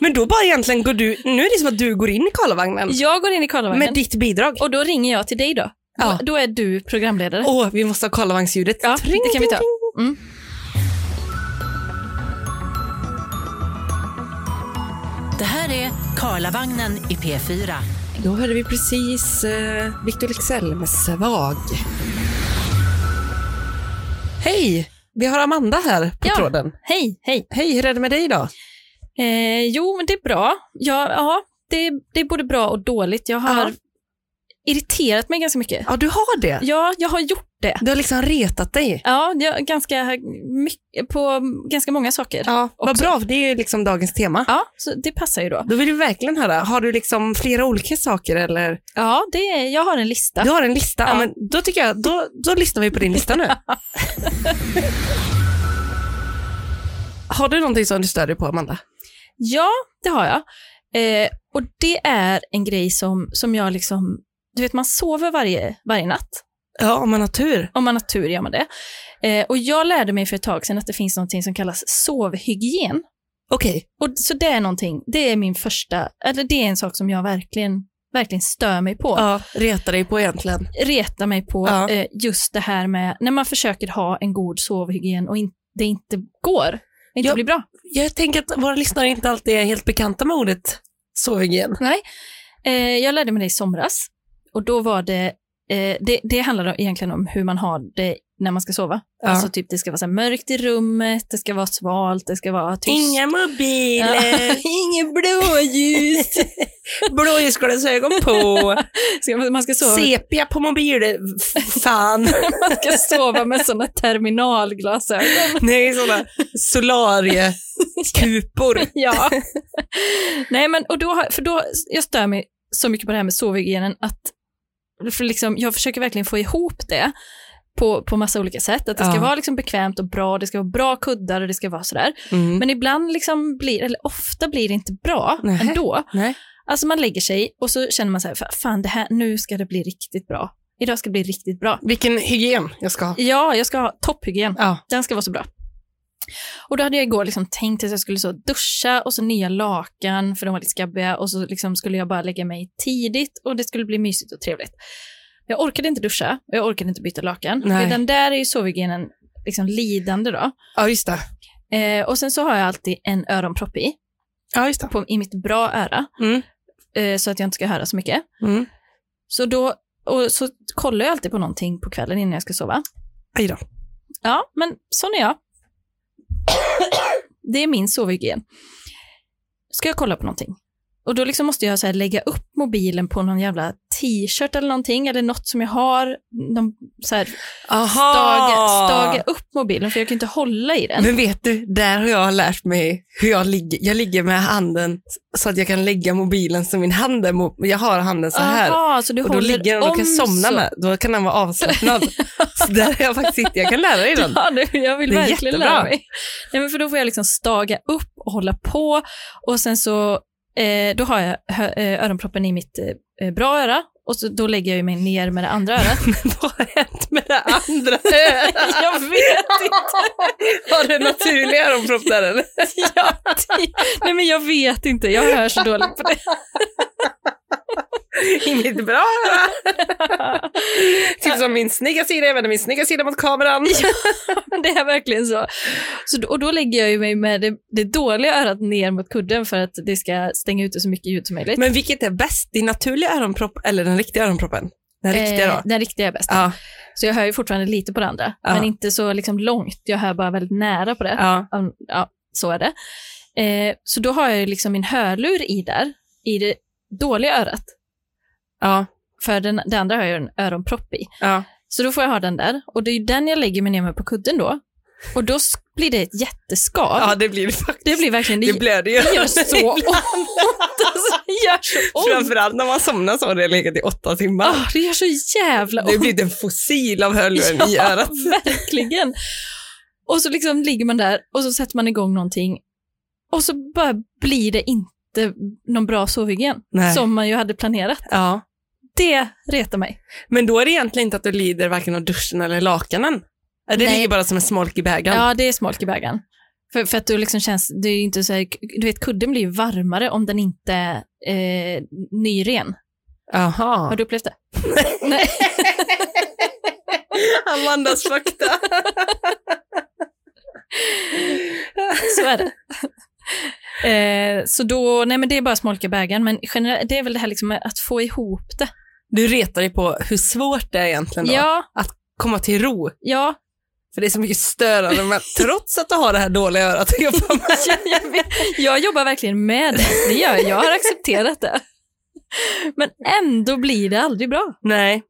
S2: men då bara egentligen går du, nu är det som att du går in i Karlavagnen
S1: Jag går in i
S2: med
S1: Karlavagnen
S2: ditt bidrag.
S1: och då ringer jag till dig då.
S2: Ja.
S1: Då, då är du programledare.
S2: Åh, vi måste ha Karlavagnsljudet.
S1: Ja, det kan vi ta. Mm.
S4: Det här är Karlavagnen i P4.
S2: Då hörde vi precis eh, Victor Leksell med Svag. Hej! Vi har Amanda här på
S1: Ja.
S2: tråden.
S1: Hej, hej.
S2: Hej, hur är det med dig idag?
S1: Eh, jo, men det är bra. Ja, ja det, det är både bra och dåligt. Jag har
S2: Ja.
S1: irriterat mig ganska mycket.
S2: Ja, du har det.
S1: Ja, jag har gjort det.
S2: Du har liksom retat dig.
S1: Ja, jag, har ganska mycket, på ganska många saker.
S2: Ja, vad
S1: också.
S2: bra, för det är ju liksom dagens tema.
S1: Ja, så det passar ju då.
S2: Då vill vi verkligen höra, har du liksom flera olika saker eller?
S1: Ja, det är, jag har en lista.
S2: Du har en lista? Ja.
S1: Ja.
S2: men då tycker jag, då, då lyssnar vi på din lista nu. har du någonting som du stör dig på, Amanda?
S1: Ja, det har jag. Eh, och det är en grej som, som jag liksom, du vet man sover varje, varje natt.
S2: Ja, om man har tur.
S1: Om man har tur gör man det. Eh, och jag lärde mig för ett tag sedan att det finns någonting som kallas sovhygien.
S2: Okej.
S1: Och, så det är någonting, det är min första, eller det är en sak som jag verkligen, verkligen stör mig på.
S2: Ja, reta dig på egentligen.
S1: Retar mig på
S2: Ja.
S1: eh, just det här med när man försöker ha en god sovhygien och in, det inte går, det inte
S2: Ja.
S1: blir bra.
S2: Jag tänker att våra lyssnare inte alltid är helt bekanta med ordet sovhygien.
S1: Nej. Eh, jag lärde mig det i somras och då var det, eh, det, det handlar om- egentligen om hur man har det när man ska sova.
S2: Ja.
S1: Alltså typ det ska vara så här mörkt i rummet, det ska vara svalt, det ska vara tyst.
S2: mobiler,
S1: Inget blåljus.
S2: blåljusglasögon på,
S1: Ska man- man ska sova
S2: sepia på mobilen. F- Fan.
S1: Man ska sova med sådana terminalglasögon.
S2: Nej, sådana solariekupor.
S1: Ja. Nej, men och då, har- för då, jag stör mig så mycket på det här med sovhygienen att för liksom, jag försöker verkligen få ihop det på, på massa olika sätt. Att det ska
S2: Ja.
S1: vara liksom bekvämt och bra, det ska vara bra kuddar och det ska vara sådär.
S2: Mm.
S1: Men ibland liksom blir, eller ofta blir det inte bra
S2: Nej.
S1: ändå.
S2: Nej.
S1: Alltså man lägger sig och så känner man så här, "Fa- fan det här, nu ska det bli riktigt bra. Idag ska det bli riktigt bra.
S2: Vilken hygien jag ska ha.
S1: Ja, jag ska ha topphygien.
S2: Ja.
S1: Den ska vara så bra. Och då hade jag igår liksom tänkt att jag skulle så duscha och så nya lakan, för de var lite skabbiga, och så liksom skulle jag bara lägga mig tidigt och det skulle bli mysigt och trevligt. Jag orkade inte duscha och jag orkade inte byta lakan.
S2: Nej.
S1: För Den där är ju sovhygienen liksom lidande då.
S2: ja, just det.
S1: Eh, och sen så har jag alltid en öronpropp i,
S2: Ja, just det.
S1: på, i mitt bra öra,
S2: Mm.
S1: eh, så att jag inte ska höra så mycket.
S2: Mm.
S1: Så då och så kollar jag alltid på någonting på kvällen innan jag ska sova.
S2: Aj då.
S1: Ja, men sån är jag. Det är min sovhygien. Ska jag kolla på någonting? Och då liksom måste jag så här lägga upp mobilen på någon jävla t-shirt eller någonting, eller något som jag har. Någon, så här,
S2: Aha!
S1: staga, staga upp mobilen, för jag kan inte hålla i den.
S2: Men vet du, där har jag lärt mig hur jag ligger. Jag ligger med handen så att jag kan lägga mobilen så min hand är mot, jag har handen så här.
S1: Aha, så du
S2: och då
S1: håller
S2: ligger den och
S1: om
S2: kan somna
S1: så.
S2: med. Då kan den vara avslappnad. Där jag faktiskt sitter. Jag kan lära dig den.
S1: Ja, nu, jag vill
S2: Det är
S1: verkligen
S2: jättebra.
S1: lära mig. Nej, men för då får jag liksom staga upp och hålla på och sen så eh, då har jag hö- eh, öronproppen i mitt eh, bra öra och så, då lägger jag ju mig ner med det andra örat.
S2: Vad har hänt med det andra?
S1: jag vet inte.
S2: Har det naturliga öronpropp där eller?
S1: Jag, nej, men jag vet inte. Jag hör så dåligt på det.
S2: I mitt bra öra. Typ som min snygga sida, jag vänder min snygga sida mot kameran.
S1: Det är verkligen så. så då- och då lägger jag ju mig med det, det dåliga örat ner mot kudden för att det ska stänga ute så mycket ljud som möjligt.
S2: Men vilket är bäst? Din naturliga öronpropp eller den riktiga öronproppen? Den riktiga då?
S1: Eh, den riktiga är bäst.
S2: Ja,
S1: Så jag hör ju fortfarande lite på det andra,
S2: Ja.
S1: men inte så liksom långt. Jag hör bara väldigt nära på det.
S2: ja.
S1: Um, ja, så är det. Eh, så då har jag ju liksom min hörlur i där, i det dåliga örat.
S2: Ja,
S1: För den, det andra har jag ju en öronpropp i.
S2: ja.
S1: Så då får jag ha den där. Och det är ju den jag lägger mig ner med på kudden då. Och då sk- blir det ett jätteskav.
S2: ja det blir det faktiskt.
S1: det blir verkligen... Det,
S2: det blöder ju.
S1: det gör så ont. Alltså, det gör så ont.
S2: Framförallt när man somnar så har det legat i åtta timmar.
S1: Ah, det gör så jävla
S2: det blir en fossil av hörluren i örat.
S1: Verkligen. Och så liksom ligger man där och så sätter man igång någonting och så bara blir det inte någon bra sovhygien
S2: Nej.
S1: som man ju hade planerat.
S2: Ja.
S1: Det retar mig.
S2: Men då är det egentligen inte att du lider varken av duschen eller lakanen. Det
S1: Nej.
S2: ligger bara som en smolk i bägaren.
S1: Ja, det är smolk i bägaren. För, för att du liksom känns, det är ju inte så här, du vet kudden blir ju varmare om den inte eh, nyren. Har
S2: Jaha.
S1: du upplevt det? Nej.
S2: Amandas fakta.
S1: Så är det. Eh, så då, nej men det är bara smolk i bägaren, men generellt, det är väl det här liksom med att få ihop det.
S2: Du retar dig på hur svårt det är egentligen då,
S1: Ja,
S2: komma till ro.
S1: ja,
S2: För det är så mycket störande, men trots att du har det här dåliga örat. Jag bara,
S1: jag, Alltså, jag vet- jag jobbar verkligen med det. Det gör jag. Jag har accepterat det. Men ändå blir det aldrig bra.
S2: Nej,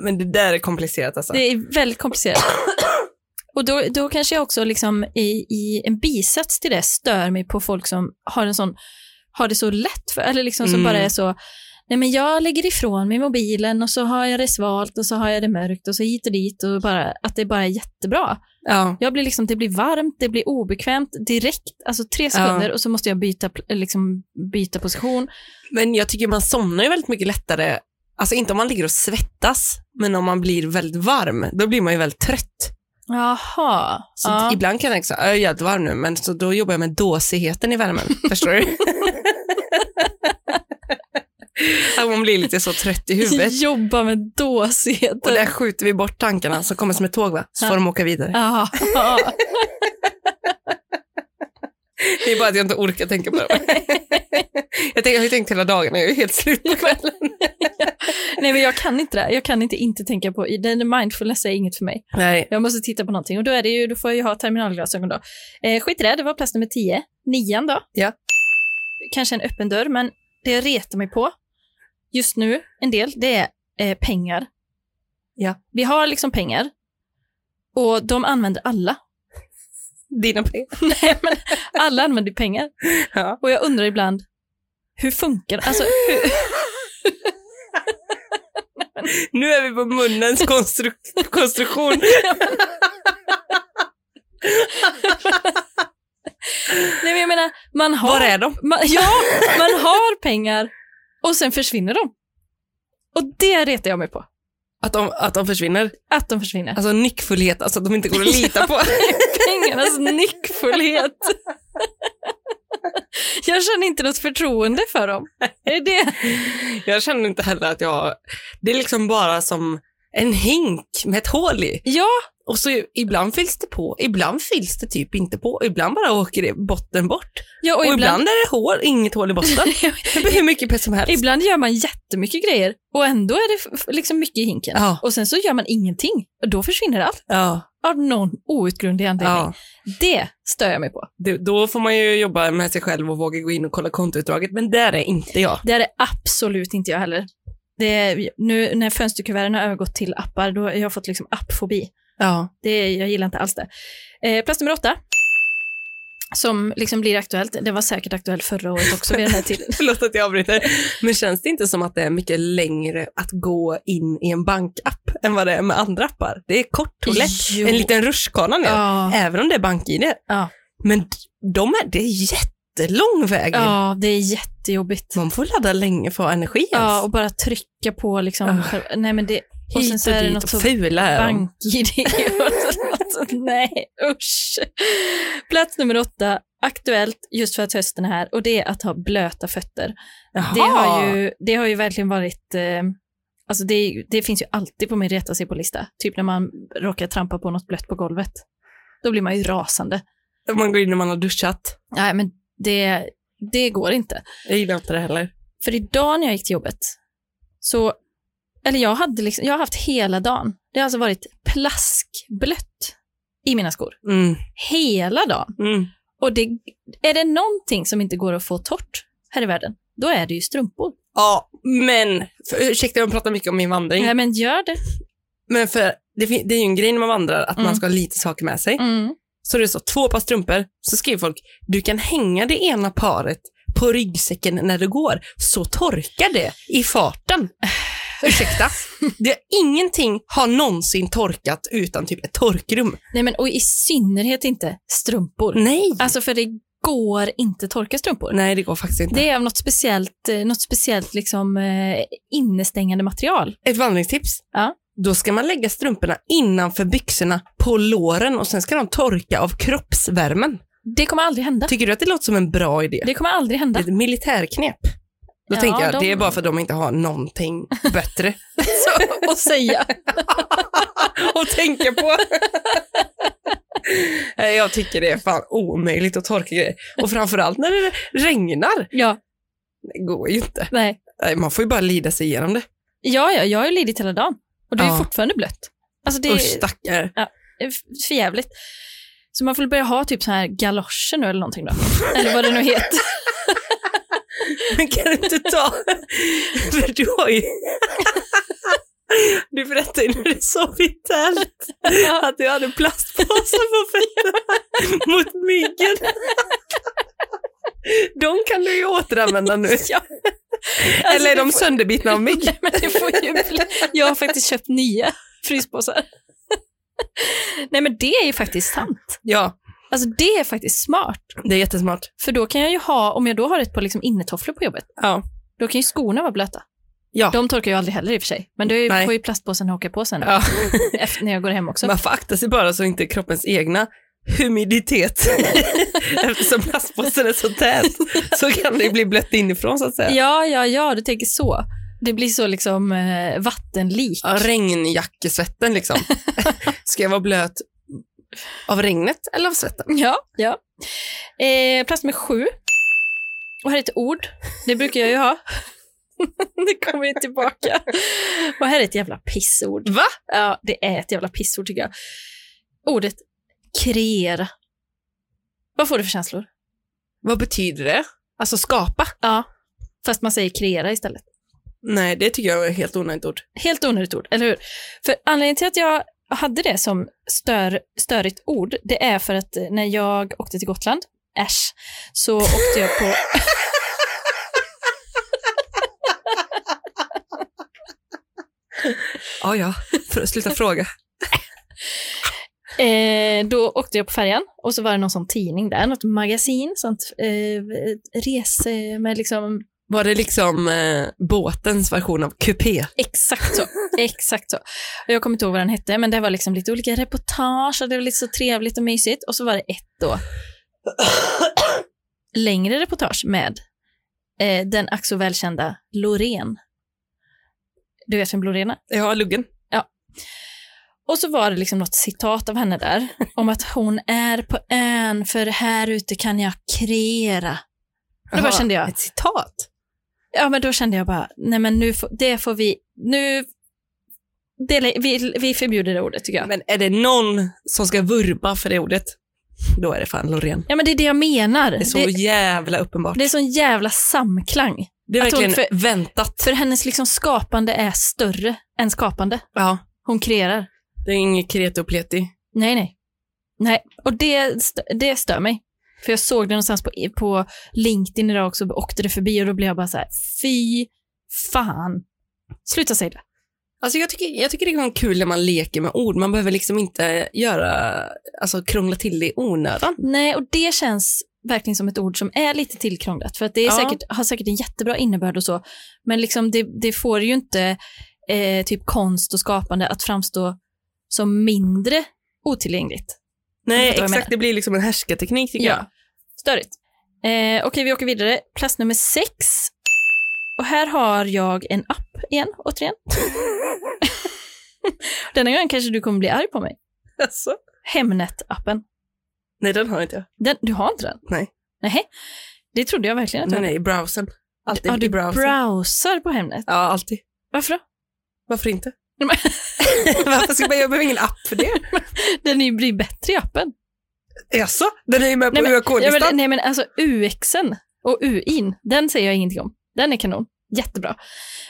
S2: men det där är komplicerat alltså.
S1: Det är väldigt komplicerat. Och då, då kanske jag också liksom i, i en bisats till det stör mig på folk som har, en sån, har det så lätt för, eller liksom som
S2: Mm.
S1: bara är så, nej men jag lägger ifrån mig mobilen och så har jag det svalt och så har jag det mörkt och så hit och dit och bara, att det bara är jättebra.
S2: Ja.
S1: Jag blir liksom, det blir varmt, det blir obekvämt direkt, alltså tre sekunder och så måste jag byta, pl- liksom, byta position.
S2: Men jag tycker man somnar ju väldigt mycket lättare, alltså inte om man ligger och svettas, men om man blir väldigt varm, då blir man ju väldigt trött.
S1: Jaha.
S2: Så
S1: ja.
S2: ibland kan jag tänka så här, "Ja, jag är jävligt varm nu, men så då jobbar jag med dåsigheten i värmen. Förstår du? Att man blir lite så trött i huvudet.
S1: Jobba med
S2: Och
S1: dåsigheter.
S2: där skjuter vi bort tankarna som kommer som ett tåg, va? så får de åka vidare.
S1: Ja.
S2: Det är bara att jag inte orkar tänka på det. Jag, tänker, jag har ju tänkt hela dagen, jag är ju helt slut på kvällen.
S1: Nej, men jag kan inte det. Jag kan inte inte tänka på, den mindfulness är inget för mig.
S2: Nej.
S1: Jag måste titta på någonting och då, är det ju, då får jag ju ha terminalglasögon då. Eh, skit i det, det var plats nummer 10. Nian då?
S2: Ja.
S1: Kanske en öppen dörr, men det jag retar mig på just nu en del, det är eh, pengar.
S2: Ja.
S1: Vi har liksom pengar och de använder alla.
S2: Dina pengar.
S1: Nej, men alla använder pengar.
S2: Ja.
S1: Och jag undrar ibland, hur funkar det? Alltså, hur,
S2: Nu är vi på munnens konstru- konstruktion.
S1: nej, men jag menar, man har...
S2: Var är de?
S1: Man, ja, man har pengar och sen försvinner de. Och det retar jag mig på,
S2: Att de, att de försvinner.
S1: att de försvinner.
S2: Alltså nyckfullhet, alltså att de inte går att lita på.
S1: Pengarnas nyckfullhet. Jag känner inte något förtroende för dem. Är det det?
S2: Jag känner inte heller att jag... Det är liksom bara som en hink med ett hål i.
S1: Ja,
S2: Och så ibland fylls det på, ibland fylls det typ inte på. Ibland bara åker det botten bort.
S1: ja
S2: Och,
S1: och
S2: ibland...
S1: ibland,
S2: är det hål, inget hål i botten. det blir hur mycket pess som helst.
S1: ibland gör man jättemycket grejer och ändå är det f- f- liksom mycket i hinken.
S2: Ja.
S1: Och sen så gör man ingenting och då försvinner allt
S2: Ja,
S1: av någon outgrundlig anledning.
S2: ja.
S1: Det stör jag mig på.
S2: Det, då får man ju jobba med sig själv och våga gå in och kolla kontoutdraget, men där är inte jag.
S1: Det är det absolut inte jag heller. Det är, nu när fönsterkuverten har övergått till appar, då har jag fått liksom appfobi.
S2: Ja.
S1: Det, jag gillar inte alls det. Eh, plats nummer åtta, som liksom blir aktuellt. Det var säkert aktuellt förra året också vid den här tiden.
S2: Förlåt att jag avbryter, men känns det inte som att det är mycket längre att gå in i en bankapp app än vad det är med andra appar. Det är kort och lätt.
S1: Jo.
S2: En liten rutschkana ner,
S1: Ja,
S2: även om det är bank-id.
S1: Ja.
S2: Men d- de är, det är jättelång väg. in.
S1: ja, det är jättejobbigt.
S2: Man får ladda länge för att ha energi ens.
S1: Ja, och bara trycka på liksom.
S2: Ah.
S1: själva- Nej, men det, och sen
S2: Hit
S1: så
S2: och
S1: är det
S2: dit
S1: något
S2: och
S1: så
S2: fula är de.
S1: bank-id. och sånt. Nej, usch. Plats nummer åtta, aktuellt just för att hösten är här och det är att ha blöta fötter. Det har, ju, det har ju verkligen varit, eh, alltså det, det finns ju alltid på min reta sig på lista, typ när man råkar trampa på något blött på golvet. Då blir man ju rasande.
S2: Man går in när man har duschat.
S1: Nej, men det, det går inte.
S2: Jag gillar inte det heller.
S1: För idag när jag gick till jobbet, så, eller jag, hade liksom, jag har haft hela dagen, det har alltså varit plaskblött i mina skor.
S2: Mm.
S1: Hela dagen.
S2: Mm.
S1: Och det, är det någonting som inte går att få torrt här i världen, då är det ju strumpor.
S2: Ja, men för, ursäkta jag pratar mycket om min vandring.
S1: Nej, men gör det.
S2: Men för det, fin- det är ju en grej när man vandrar att
S1: Mm.
S2: man ska ha lite saker med sig.
S1: Mm.
S2: Så det står två par strumpor, så skriver folk du kan hänga det ena paret på ryggsäcken när du går, så torkar det i farten. Ursäkta, det är ingenting har någonsin torkat utan typ ett torkrum.
S1: Nej, men och i synnerhet inte strumpor.
S2: Nej,
S1: Alltså för det går inte torka strumpor.
S2: Mm. nej det går faktiskt inte.
S1: Det är av något speciellt, eh, något speciellt liksom, eh, innestängande material.
S2: Ett vandringstips.
S1: Ja.
S2: Då ska man lägga strumporna innanför byxorna på låren och sen ska de torka av kroppsvärmen.
S1: Det kommer aldrig hända.
S2: Tycker du att det låter som en bra idé?
S1: Det kommer aldrig hända.
S2: Det är ett militärknep. Då
S1: Ja,
S2: tänker jag,
S1: de-
S2: det är bara för att de inte har någonting bättre
S1: Så, och säga.
S2: att tänka på. Nej, jag tycker det är fan omöjligt att torka grejer. Och framförallt när det regnar.
S1: Ja,
S2: Det går ju inte.
S1: nej.
S2: Nej, Man får ju bara lida sig igenom det.
S1: Ja, ja, jag har ju lidit hela dagen och det är
S2: Ja.
S1: fortfarande blött. Alltså det
S2: Usch,
S1: är
S2: stackare.
S1: f- för jävligt. Så man får väl börja ha typ så här galoscher nu eller någonting då. Eller vad det nu heter.
S2: Men kan du inte ta... För du har ju... Du berättade ju när du sov i tält att du hade plastpåsar på fötterna mot myggen. De kan du ju återanvända nu.
S1: Ja. alltså
S2: Eller är de sönderbitna av mygg?
S1: Nej, men det får ju bli. Jag har faktiskt köpt nya fryspåsar. Nej men det är ju faktiskt sant.
S2: Ja,
S1: Alltså det är faktiskt smart.
S2: det är jättesmart.
S1: För då kan jag ju ha, om jag då har ett par liksom innetofflor på jobbet,
S2: Ja.
S1: då kan ju skorna vara blöta.
S2: Ja.
S1: De torkar ju aldrig heller i och för sig. Men då är ju,
S2: Nej.
S1: får ju plastpåsen haka på sen
S2: Ja.
S1: efter, när jag går hem också.
S2: Man får akta sig bara så inte kroppens egna humiditet, eftersom plastpåsen är så tät, så kan det bli blött inifrån så att säga.
S1: Ja, ja, ja, du tänker så. Det blir så liksom eh, vattenlik.
S2: Ja, regnjackesvetten liksom. Ska jag vara blöt av regnet eller av svetten?
S1: Ja, ja. Eh, plats nummer sju. Och här är ett ord. Det brukar jag ju ha. det kommer ju tillbaka. Och här är ett jävla pissord.
S2: Va?
S1: Ja, det är ett jävla pissord tycker jag. Ordet kreera. Vad får du för känslor?
S2: Vad betyder det? Alltså skapa?
S1: Ja, fast man säger kreera istället.
S2: Nej, det tycker jag är helt onödigt ord.
S1: Helt onödigt ord, eller hur? För anledningen till att jag hade det som stör, störigt ord, det är för att när jag åkte till Gotland, äsch, så åkte jag på...
S2: Ja, ja. För att sluta fråga.
S1: Eh, då åkte jag på färjan och så var det någon sån tidning där, något magasin, sånt eh, rese med liksom
S2: Var det liksom eh, båtens version av kupé?
S1: Exakt så. Exakt så. Och jag kommer inte ihåg vad den hette, men det var liksom lite olika reportage och det var lite så trevligt och mysigt. Och så var det ett då längre reportage med eh, den ack så välkända Loreen. Du vet vem Loreen är?
S2: Ja, luggen.
S1: Och så var det liksom något citat av henne där om att hon är på ön för här ute kan jag kreera. Då bara
S2: Jaha,
S1: kände jag,
S2: Ett citat?
S1: ja men då kände jag bara, nej men nu får, det får vi, nu, det, vi, vi förbjuder det ordet tycker jag.
S2: Men är det någon som ska vurba för det ordet, då är det fan Loreen.
S1: Ja, men det är det jag menar.
S2: Det är så
S1: det,
S2: jävla uppenbart.
S1: det är sån jävla samklang.
S2: Det är
S1: att hon
S2: verkligen
S1: för-
S2: väntat.
S1: För hennes liksom skapande är större än skapande.
S2: Ja,
S1: Hon kreerar.
S2: det är inget kreti och pleti.
S1: Nej, nej. Nej, och det, st- det stör mig. För jag såg det någonstans på, på LinkedIn idag också, åkte det förbi och då blev jag bara så här, fy fan. Sluta säga det.
S2: Alltså jag, tycker, jag tycker det är kul när man leker med ord. Man behöver liksom inte göra, alltså krångla till det i onödan.
S1: Nej, och det känns verkligen som ett ord som är lite tillkrånglat, för att det är
S2: Ja.
S1: säkert, har säkert en jättebra innebörd och så, men liksom det, det får ju inte eh, typ konst och skapande att framstå som mindre otillgängligt.
S2: Nej,
S1: fattar vad jag
S2: exakt.
S1: menar.
S2: Det blir liksom en härskarteknik tycker jag.
S1: Störigt. Eh, Okej, vi åker vidare. Plats nummer sex. Och här har jag en app igen, återigen. Denna gången kanske du kommer bli arg på mig.
S2: Alltså.
S1: Hemnet-appen.
S2: Nej, den har inte jag.
S1: Den, du har inte den?
S2: Nej.
S1: Nej. Det trodde jag verkligen att du
S2: Den
S1: hade.
S2: är i browsern. Alltid
S1: Ja,
S2: i
S1: du
S2: browsern.
S1: browsar på Hemnet.
S2: ja, alltid.
S1: Varför då?
S2: Varför inte?
S1: Nej, men-
S2: Varför ska man, jag behöver ingen app för det.
S1: Den är ju blir bättre i appen.
S2: Jaså? Den är ju med på
S1: men- Ja,
S2: UAK-listan.
S1: men, nej men alltså UXen och UIn, den säger jag ingenting om. Den är kanon. Jättebra.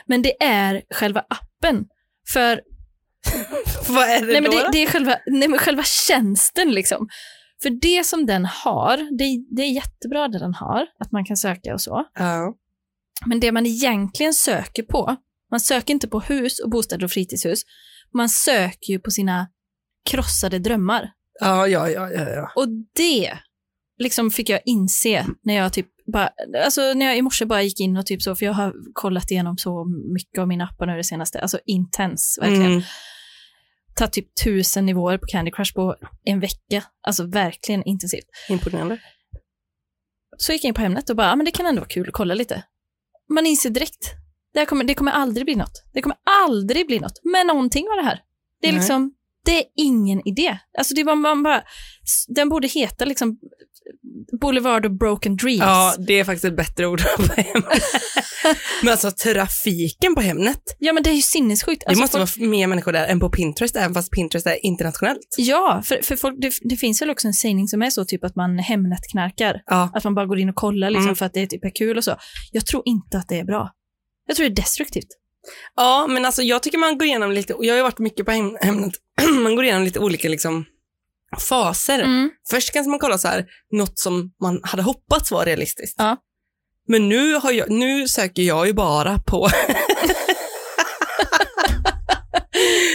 S1: Men det är själva appen. För
S2: Vad är det
S1: nej, men
S2: då?
S1: det, det är själva, nej, men själva tjänsten liksom. För det som den har, det, det är jättebra det den har, att man kan söka och så.
S2: Ja.
S1: Men det man egentligen söker på, man söker inte på hus och bostäder och fritidshus, man söker ju på sina krossade drömmar.
S2: Ja, ja, ja, ja, ja.
S1: Och det liksom fick jag inse när jag typ bara, alltså när jag i morse bara gick in och typ så, för jag har kollat igenom så mycket av mina appar nu det senaste, alltså intens verkligen.
S2: Mm.
S1: Tagit typ tusen nivåer på Candy Crush på en vecka, alltså verkligen intensivt.
S2: Imponerande.
S1: Så gick jag in på Hemnet och bara, ja men det kan ändå vara kul att kolla lite. Man inser direkt, det, här kommer, det kommer aldrig bli något. Det kommer aldrig bli något, men någonting av det här. Det är
S2: Nej.
S1: liksom, det är ingen idé. Alltså det var man bara, s- den borde heta liksom Boulevard of Broken Dreams.
S2: Ja, det är faktiskt ett bättre ord på Hemnet. men alltså trafiken på Hemnet.
S1: Ja, men det är ju sinnessjukt.
S2: Det
S1: Alltså,
S2: måste
S1: folk,
S2: vara mer människor där än på Pinterest, även fast Pinterest är internationellt.
S1: Ja, för, för folk, det, det finns väl också en sägning som är så typ att man Hemnet-knarkar.
S2: Ja.
S1: Att man bara går in och kollar liksom,
S2: Mm.
S1: för att det typ är kul och så. Jag tror inte att det är bra. Jag tror det är destruktivt.
S2: ja, men alltså jag tycker man går igenom lite, och jag har ju varit mycket på Hem- Hemnet, man går igenom lite olika liksom faser.
S1: Mm.
S2: Först kanske man kollar så här, något som man hade hoppats var realistiskt.
S1: Ja.
S2: Men nu, har jag, nu söker jag ju bara på...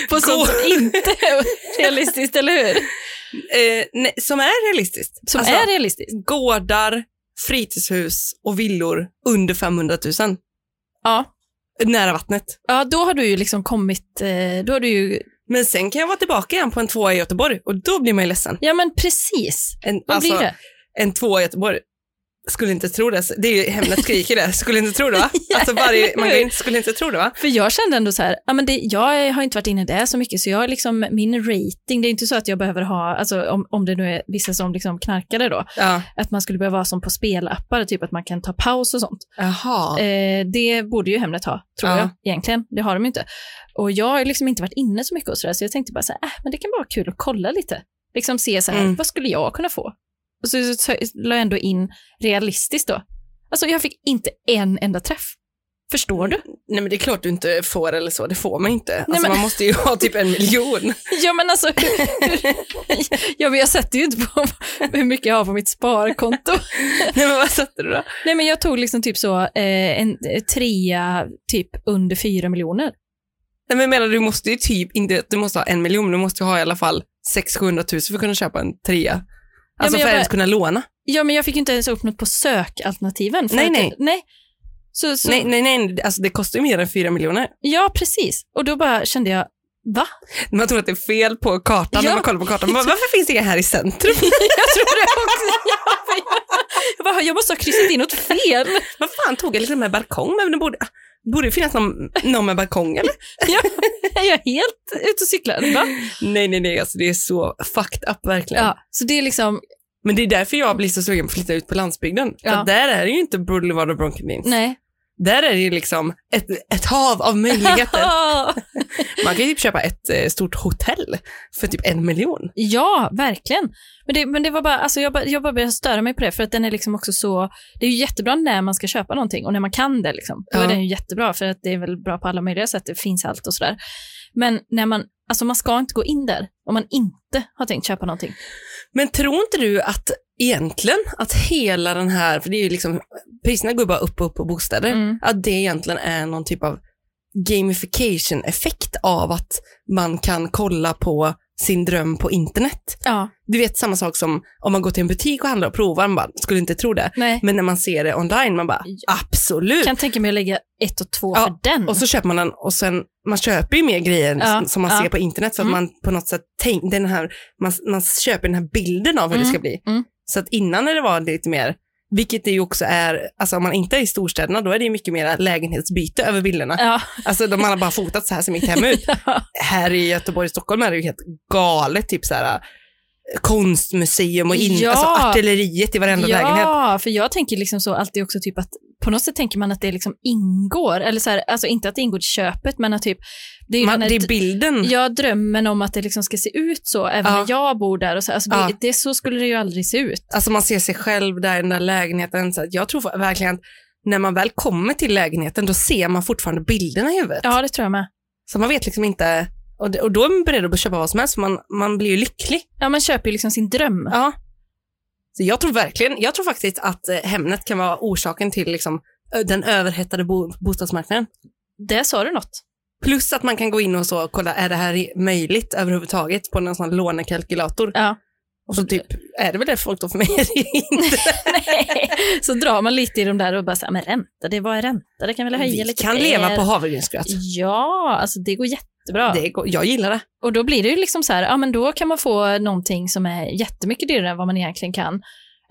S1: På sånt som inte är realistiskt, eller hur?
S2: eh, nej, som är realistiskt.
S1: Som
S2: Alltså,
S1: är realistiskt.
S2: Gårdar, fritidshus och villor under 500 000.
S1: Ja.
S2: Nära vattnet.
S1: ja, då har du ju liksom kommit, eh, då har du ju,
S2: Men sen kan jag vara tillbaka igen på en tvåa i Göteborg och då blir man ju ledsen.
S1: ja men precis.
S2: En,
S1: Vad
S2: alltså,
S1: blir det?
S2: en tvåa i Göteborg. Skulle inte tro det. Det är ju Hemnet skriker det. Skulle inte tro det va? Alltså varje, man kan ju inte, skulle inte tro det va?
S1: För jag kände ändå så här, ja, men det, jag har inte varit inne där så mycket, så jag har liksom, min rating, det är inte så att jag behöver ha, alltså om, om det nu är vissa som liksom knarkade då,
S2: Ja.
S1: att man skulle behöva vara som på spelappar, typ att man kan ta paus och sånt.
S2: Jaha.
S1: Eh, det borde ju Hemnet ha, tror
S2: Ja.
S1: jag, egentligen. Det har de ju inte. Och jag har ju liksom inte varit inne så mycket och sådär, så jag tänkte bara så här, äh, men det kan vara kul att kolla lite. Liksom se så här,
S2: Mm.
S1: vad skulle jag kunna få? Och så, så, så la jag ändå in realistiskt då. Alltså jag fick inte en enda träff. Förstår du?
S2: Nej men det är klart du inte får eller så, det får man inte. Alltså,
S1: men-
S2: Man måste ju ha typ en miljon.
S1: Ja men alltså, hur, hur, ja, men jag sätter ju inte på hur mycket jag har på mitt sparkonto.
S2: Nej men vad satte du då?
S1: Nej men jag tog liksom typ så eh, en trea typ under fyra miljoner.
S2: Nej men jag menar du måste ju typ inte, du måste ha en miljon, du måste ju ha i alla fall 600 000 för att kunna köpa en trea. Alltså
S1: men
S2: för
S1: jag
S2: att
S1: bara-
S2: ens kunna låna.
S1: Ja men jag fick ju inte ens upp något på sökalternativen. för
S2: Nej,
S1: att-
S2: nej.
S1: nej. Så, så,
S2: Nej, nej, nej, alltså det kostar ju mer än fyra miljoner.
S1: Ja precis, och då bara kände jag, va?
S2: Man tror att det är fel på kartan
S1: Ja.
S2: när man kollar på kartan. Man Bara, Varför finns det här i centrum?
S1: Jag tror det också. Jag, bara, jag måste ha kryssat in något fel.
S2: Vad fan tog jag liksom med balkong? Men det borde, borde ju finnas någon, någon med balkong eller?
S1: Jag, jag är helt ute och cyklar. Va?
S2: Nej, nej, nej, alltså det är så fucked up verkligen.
S1: Ja, så det är liksom,
S2: Men det är därför jag blir så sugen på att flytta ut på landsbygden. För
S1: Ja.
S2: att där är det ju inte Boulevard och Bronco Beans.
S1: nej.
S2: Där är det ju liksom ett, ett hav av möjligheter. Man kan ju typ köpa ett eh, stort hotell för typ en miljon.
S1: Ja, verkligen. Men det, men det var bara, alltså jag, bara, jag bara började störa mig på det, för att den är liksom också så, det är ju jättebra när man ska köpa någonting och när man kan det. Liksom. Då är
S2: Ja.
S1: den ju jättebra, för att det är väl bra på alla möjliga sätt, det finns allt och sådär. Men när man, alltså man ska inte gå in där om man inte har tänkt köpa någonting.
S2: Men tror inte du att egentligen att hela den här, för det är ju liksom, priserna går ju bara upp och upp på bostäder,
S1: Mm.
S2: att det egentligen är någon typ av gamification-effekt av att man kan kolla på sin dröm på internet.
S1: Ja,
S2: Du vet samma sak som om man går till en butik och handlar och provar, man bara, skulle inte tro det.
S1: nej.
S2: Men när man ser det online, man bara, absolut.
S1: Kan tänka mig att lägga ett och två
S2: Ja,
S1: för den.
S2: Och så köper man den och sen, man köper ju mer grejer
S1: Mm. Ja,
S2: som man
S1: ja.
S2: ser på internet för att
S1: Mm.
S2: man på något sätt tänk, den här, man, man köper den här bilden av hur det ska bli.
S1: mm.
S2: Så att innan när det var lite mer, vilket det ju också är, alltså om man inte är i storstäderna då är det ju mycket mer lägenhetsbyte över bilderna.
S1: Ja,
S2: Alltså de har bara fotat så här ser mitt hem ut. Här i Göteborg och Stockholm är det ju helt galet, typ så här konstmuseum och in,
S1: Ja.
S2: alltså artilleriet i varenda lägenhet.
S1: ja för jag tänker liksom så alltid också typ att på något sätt tänker man att det liksom ingår, eller så här, alltså inte att det ingår i köpet, men att typ, det är, ju
S2: Man,
S1: den här
S2: det är bilden.
S1: Jag drömmen om att det liksom ska se ut så, även
S2: Ja.
S1: när jag bor där. Och så, alltså det,
S2: Ja.
S1: det, så skulle det ju aldrig se ut.
S2: Alltså man ser sig själv där i den där lägenheten. Så att jag tror verkligen att när man väl kommer till lägenheten då ser man fortfarande bilderna i huvudet.
S1: Ja, det tror jag med.
S2: Så man vet liksom inte, och, det- och då är man beredd att köpa vad som helst för man, man blir ju lycklig.
S1: Ja, man köper ju liksom sin dröm.
S2: Ja. Så jag tror verkligen, jag tror faktiskt att eh, Hemnet kan vara orsaken till liksom ö- den överhettade bo, bostadsmarknaden.
S1: Det sa du något.
S2: Plus att man kan gå in och så kolla, är det här i- möjligt överhuvudtaget på någon sån lånekalkylator?
S1: Ja.
S2: Och så typ, är det väl det folk då för mig? inte.
S1: Nej. Så drar man lite i de där och bara så här, men ränta, det var ränta, det kan väl höja
S2: Vi
S1: lite
S2: kan
S1: mer.
S2: leva på havregrynsgröt.
S1: Ja, alltså det går jättebra.
S2: Det går, jag gillar det.
S1: Och då blir det ju liksom så här, ja men då kan man få någonting som är jättemycket dyrare än vad man egentligen kan.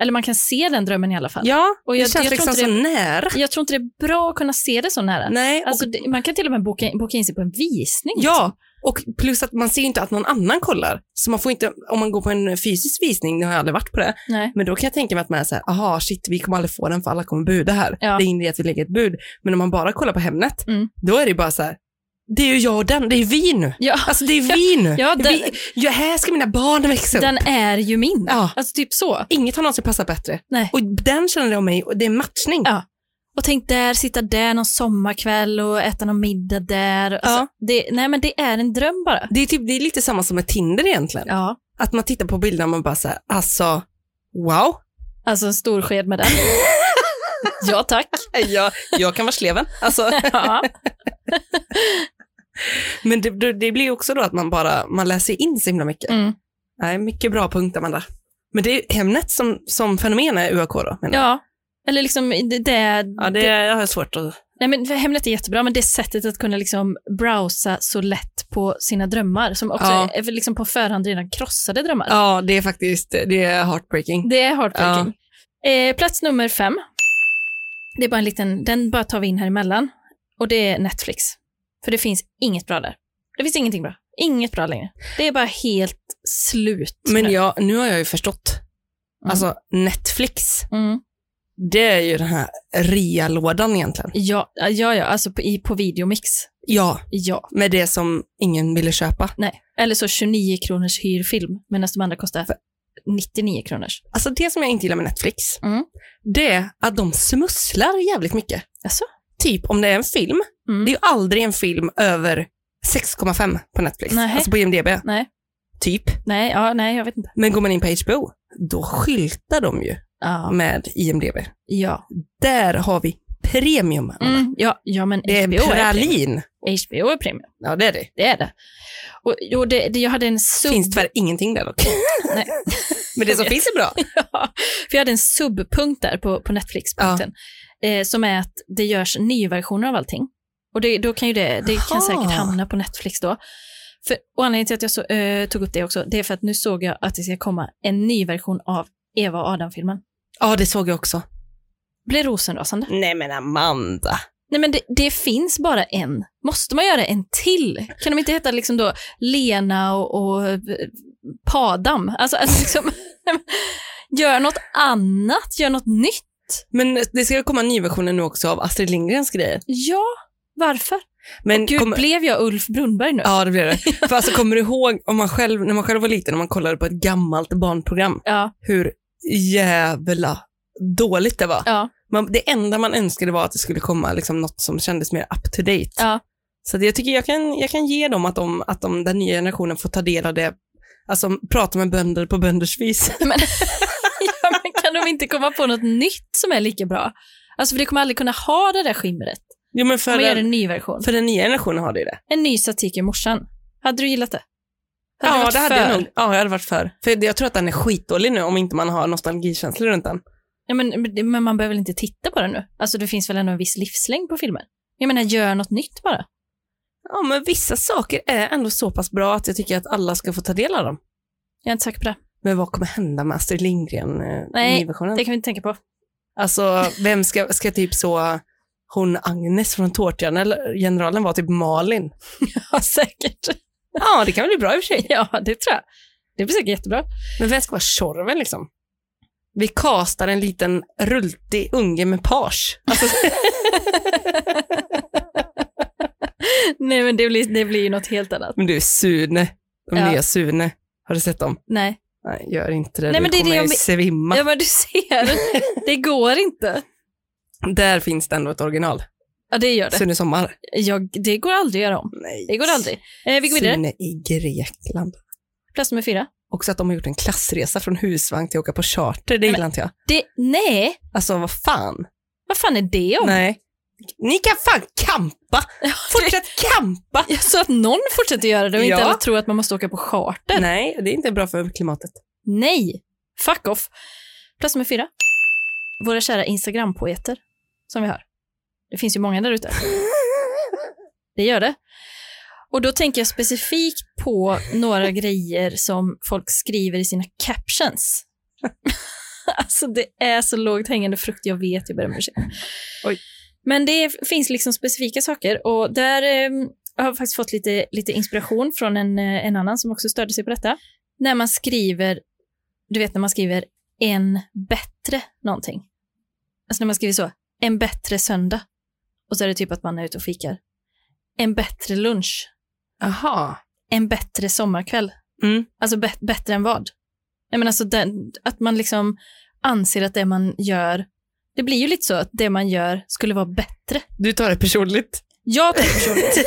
S1: Eller man kan se den drömmen i alla fall.
S2: Ja,
S1: Och
S2: det
S1: jag-
S2: känns
S1: jag tror
S2: liksom
S1: inte
S2: så nära.
S1: Jag tror inte det är bra att kunna se det så nära.
S2: Nej,
S1: Alltså,
S2: och,
S1: det, man kan till och med boka, in- boka in sig på en visning.
S2: ja, och plus att man ser ju inte att någon annan kollar. Så man får inte, om man går på en fysisk visning, nu har jag aldrig varit på det,
S1: Nej.
S2: men då kan jag tänka mig att man är så här, aha shit, vi kommer aldrig få den för alla kommer buda här.
S1: Ja.
S2: Det är ingen idé att vi lägger ett bud. Men om man bara kollar på Hemnet,
S1: Mm.
S2: då är det bara så här, det är ju jag och den, det är vi nu.
S1: Ja.
S2: Alltså det är vi nu.
S1: Ja, den-
S2: vi, ja, här ska mina barn växa upp.
S1: Den är ju min.
S2: Typ. Ja.
S1: Alltså typ så.
S2: Inget har någonsin passat bättre.
S1: Nej.
S2: Och den känner jag om mig, och det är matchning.
S1: Ja. Och tänk där, sitta där någon sommarkväll och äta någon middag där. Alltså, det, nej men det är en dröm bara.
S2: Det, är typ, det är lite samma som med Tinder egentligen.
S1: Ja.
S2: Att man tittar på bilderna och man bara så här, alltså, wow.
S1: Alltså en stor sked med den. ja tack.
S2: Jag, jag kan vara sleven. Alltså.
S1: Ja.
S2: Men det, det, det blir ju också då att man bara man läser in så himla mycket.
S1: Mm.
S2: Nej, mycket bra punkt, Amanda. Men det är ju Hemnet som, som fenomen är UAK då? menar jag.
S1: ja. Eller liksom det, det,
S2: ja det, jag har svårt att...
S1: Nej men för Hemnet är jättebra, men det sättet att kunna liksom browsa så lätt på sina drömmar, som också
S2: Ja.
S1: är väl liksom på förhand redan krossade drömmar.
S2: Ja, det är faktiskt det är heartbreaking.
S1: Det är heartbreaking. Eh, plats nummer fem. Det är bara en liten, den bara tar vi in här emellan. Och det är Netflix. För det finns inget bra där. Det finns ingenting bra. Inget bra längre. Det är bara helt slut.
S2: Men
S1: nu.
S2: jag, nu har jag ju förstått.
S1: Mm.
S2: Alltså Netflix,
S1: Mm.
S2: det är ju den här rea-lådan egentligen.
S1: Ja, ja, ja, alltså på, i, på videomix.
S2: Ja,
S1: Ja.
S2: med det som ingen ville köpa.
S1: Nej. Eller så 29 kronors hyrfilm, medan de andra kostar 99 kronors.
S2: Alltså det som jag inte gillar med Netflix,
S1: Mm.
S2: det är att de smusslar jävligt mycket.
S1: Alltså?
S2: Typ om det är en film,
S1: Mm.
S2: det är ju aldrig en film över 6,5 på Netflix,
S1: Nej.
S2: alltså på IMDB.
S1: Nej.
S2: Typ.
S1: Nej, ja, nej, jag vet inte.
S2: Men går man in på HBO, då skyltar de ju
S1: Ja.
S2: med IMDB.
S1: Ja,
S2: Där har vi premium. Anna.
S1: mm, ja, ja men
S2: Det är en
S1: HBO, är premium.
S2: pralin.
S1: HBO är premium.
S2: Ja, det är det.
S1: Det är det. Och, och det, det jag hade en sub...
S2: Finns tyvärr ingenting där dock.
S1: Nej.
S2: Men det som finns är bra.
S1: Ja, för jag hade en subpunkt där på, på Netflix-punkten eh, som är att det görs nyversioner av allting. Och det, då kan ju det, det kan
S2: Aha.
S1: säkert hamna på Netflix då. För, och anledningen till att jag så, eh, tog upp det också, det är för att nu såg jag att det ska komma en ny version av Eva och Adam-filmen.
S2: Ja, det såg jag också.
S1: Blir rosenrasande.
S2: Nej men Amanda.
S1: Nej men det, det finns bara en. Måste man göra en till? Kan de inte heta liksom då Lena och, och eh, Padam? Alltså, alltså liksom, gör något annat, gör något nytt.
S2: Men det ska komma nyversioner nu också av Astrid Lindgrens grejer.
S1: Ja, varför?
S2: Men
S1: Gud,
S2: kommer-
S1: blev jag Ulf Brunnberg nu?
S2: Ja, det blir det. För alltså, kommer du ihåg om man själv, när man själv var liten och man kollade på ett gammalt barnprogram,
S1: Ja,
S2: hur jävla dåligt det var.
S1: ja,
S2: Man, det enda man önskade var att det skulle komma liksom, något som kändes mer up to date.
S1: ja.
S2: Så det, jag tycker jag kan, jag kan ge dem att, de, att de, den nya generationen får ta del av det, alltså prata med bönder på bönders vis.
S1: Men, ja men kan de inte komma på något nytt som är lika bra? Alltså för det kommer aldrig kunna ha det där skimret.
S2: Jo, men för,
S1: Man gör
S2: den,
S1: en ny version.
S2: för den nya generationen har det ju det.
S1: En ny satir i morsan. Hade du gillat det? Hade du
S2: Ja,
S1: varit
S2: det hade
S1: för?
S2: jag nog. Ja, jag hade varit för. För jag tror att den är skitdålig nu om inte man har nostalgikänslor runt den.
S1: Ja, men, men man behöver väl inte titta på den nu? Alltså det finns väl ändå en viss livslängd på filmer? Jag menar, gör något nytt bara.
S2: Ja, men vissa saker är ändå så pass bra att jag tycker att alla ska få ta del av dem.
S1: Jag är inte säker på det.
S2: Men vad kommer hända med Astrid
S1: Nej,
S2: Lindgren-versionen?
S1: Det kan vi inte tänka på.
S2: Alltså, vem ska, ska typ så, hon Agnes från Tårtjan, eller generalen var typ Malin.
S1: Ja, säkert.
S2: Ja, det kan väl bli bra i och för sig.
S1: Ja, det tror jag. Det blir säkert jättebra.
S2: Men vem ska vara Tjorven liksom? Vi kastar en liten rultig unge med page. Alltså,
S1: Nej, men det blir, det blir ju något helt annat.
S2: Men du är Sune, de
S1: Ja.
S2: nya Sune. Har du sett dem?
S1: Nej.
S2: Nej, gör inte det.
S1: Nej,
S2: du
S1: men det är det
S2: kommer
S1: jag men-
S2: svimma.
S1: Ja, men du ser. Det går inte.
S2: Där finns det ändå ett original.
S1: Ja, det gör det.
S2: Sune Sommar.
S1: Jag, det går aldrig att göra om.
S2: Nej.
S1: Det går aldrig. Eh, vi går vidare.
S2: Sune i Grekland.
S1: Plats nummer fyra.
S2: Också att de har gjort en klassresa från husvagn till att åka på charter, det gillar inte jag.
S1: Det, nej,
S2: Alltså vad fan.
S1: vad fan är det om?
S2: Nej. Ni kan fan kampa! Fortsätt kampa!
S1: Jag sa att någon fortsätter göra det och inte
S2: Ja.
S1: alla tror att man måste åka på charter.
S2: Nej, det är inte bra för klimatet.
S1: Nej, fuck off. Plats nummer fyra. Våra kära Instagram-poeter som vi har. Det finns ju många där ute. Det gör det. Och då tänker jag specifikt på några grejer som folk skriver i sina captions. alltså det är så lågt hängande frukt, jag vet, jag ber om ursäkt.
S2: Oj.
S1: Men det är- finns liksom specifika saker och där eh, har jag faktiskt fått lite, lite inspiration från en, eh, en annan som också störde sig på detta. När man skriver, du vet när man skriver en bättre någonting. Alltså när man skriver så, en bättre söndag. Och så är det typ att man är ute och fikar. En bättre lunch.
S2: Jaha.
S1: En bättre sommarkväll.
S2: Mm.
S1: Alltså bä- bättre än vad? Nej, men alltså den, att man liksom anser att det man gör, det blir ju lite så att det man gör skulle vara bättre.
S2: Du tar det personligt.
S1: Jag tycker personligt.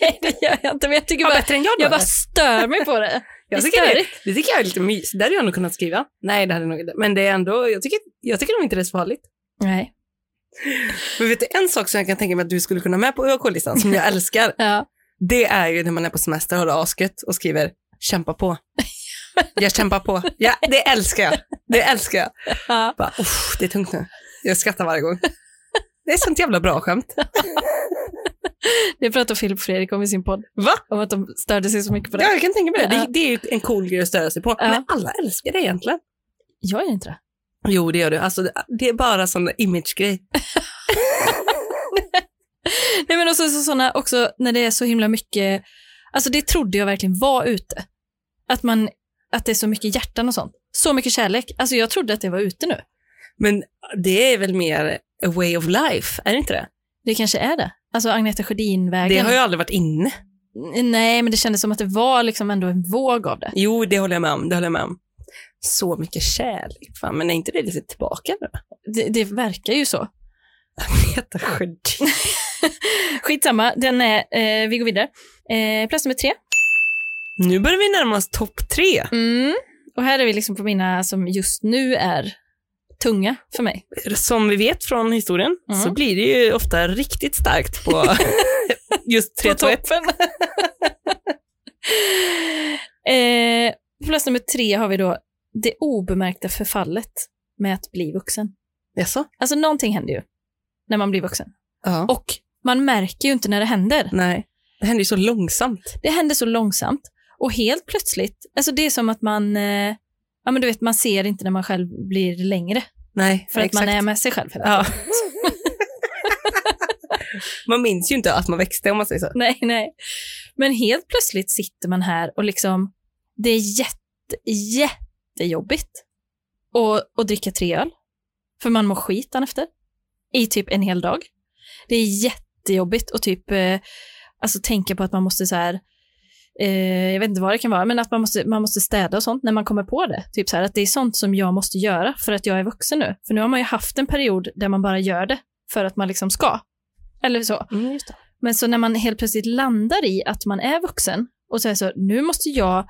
S1: Nej, det gör jag inte, men jag tycker bara,
S2: bättre än då?
S1: jag bara stör mig på det.
S2: jag
S1: det är
S2: tycker det,
S1: störigt.
S2: det tycker jag är lite mys. Det hade jag nog kunnat skriva. Nej, det hade nog inte. Men det är ändå, jag tycker, jag tycker nog inte det är så farligt.
S1: Nej.
S2: Men vet du, en sak som jag kan tänka mig att du skulle kunna med på ÖK-listan, som jag älskar,
S1: Ja.
S2: det är ju när man är på semester, har det asgött och skriver kämpa på. Jag kämpar på. Ja, det älskar jag. Det älskar jag.
S1: Ja.
S2: Bara, "Uff, det är tungt nu. Jag skrattar varje gång. Det är sånt jävla bra skämt.
S1: Det pratar Filip Fredrik om i sin podd,
S2: Va?
S1: om att de störde sig så mycket på det.
S2: Ja, jag kan tänka mig det.
S1: Ja.
S2: Det, det är ju en cool grej att störa sig på.
S1: Ja.
S2: Men alla älskar det egentligen.
S1: Jag gör inte det.
S2: Jo, det gör du. Alltså, det, det är bara sån image-grej.
S1: Nej men och sen så sådana också när det är så himla mycket, alltså det trodde jag verkligen var ute. Att, man, att det är så mycket hjärtan och sånt. Så mycket kärlek. Alltså jag trodde att det var ute nu.
S2: Men det är väl mer a way of life, är det inte det?
S1: Det kanske är det. Alltså Agneta Sjödin-vägen.
S2: Det har ju aldrig varit inne.
S1: Nej, men det kändes som att det var liksom ändå en våg av det.
S2: Jo, det håller jag med om. Det håller jag med om. Så mycket kärlek, fan. men är inte det lite tillbaka nu?
S1: Det, det verkar ju så.
S2: Peter Sjödin.
S1: Skitsamma, den är, eh, vi går vidare. Eh, plats nummer tre.
S2: Nu börjar vi närma oss topp tre.
S1: Mm. Och här är vi liksom på mina som just nu är tunga för mig.
S2: Som vi vet från historien
S1: Mm.
S2: så blir det ju ofta riktigt starkt på just 3 2 1.
S1: eh, plats nummer tre har vi då det obemärkta förfallet med att bli vuxen.
S2: Jaså?
S1: Alltså någonting händer ju när man blir vuxen.
S2: Ja.
S1: Och man märker ju inte när det händer.
S2: Nej. Det händer ju så långsamt.
S1: Det händer så långsamt och helt plötsligt, alltså det är som att man, eh, ja men du vet man ser inte när man själv blir längre
S2: Nej,
S1: för att man är med sig själv. hela
S2: Ja.
S1: tiden.
S2: man minns ju inte att man växte om man säger så.
S1: Nej, nej. Men helt plötsligt sitter man här och liksom, det är jätte, jättejobbigt att, att dricka tre öl. För man mår skit dagen efter. I typ en hel dag. Det är jättejobbigt att typ, eh, alltså tänka på att man måste så här, eh, jag vet inte vad det kan vara, men att man måste, man måste städa och sånt när man kommer på det. Typ så här, att det är sånt som jag måste göra för att jag är vuxen nu. För nu har man ju haft en period där man bara gör det för att man liksom ska. Eller så.
S2: Mm, just det.
S1: Men så när man helt plötsligt landar i att man är vuxen och säger så, nu måste jag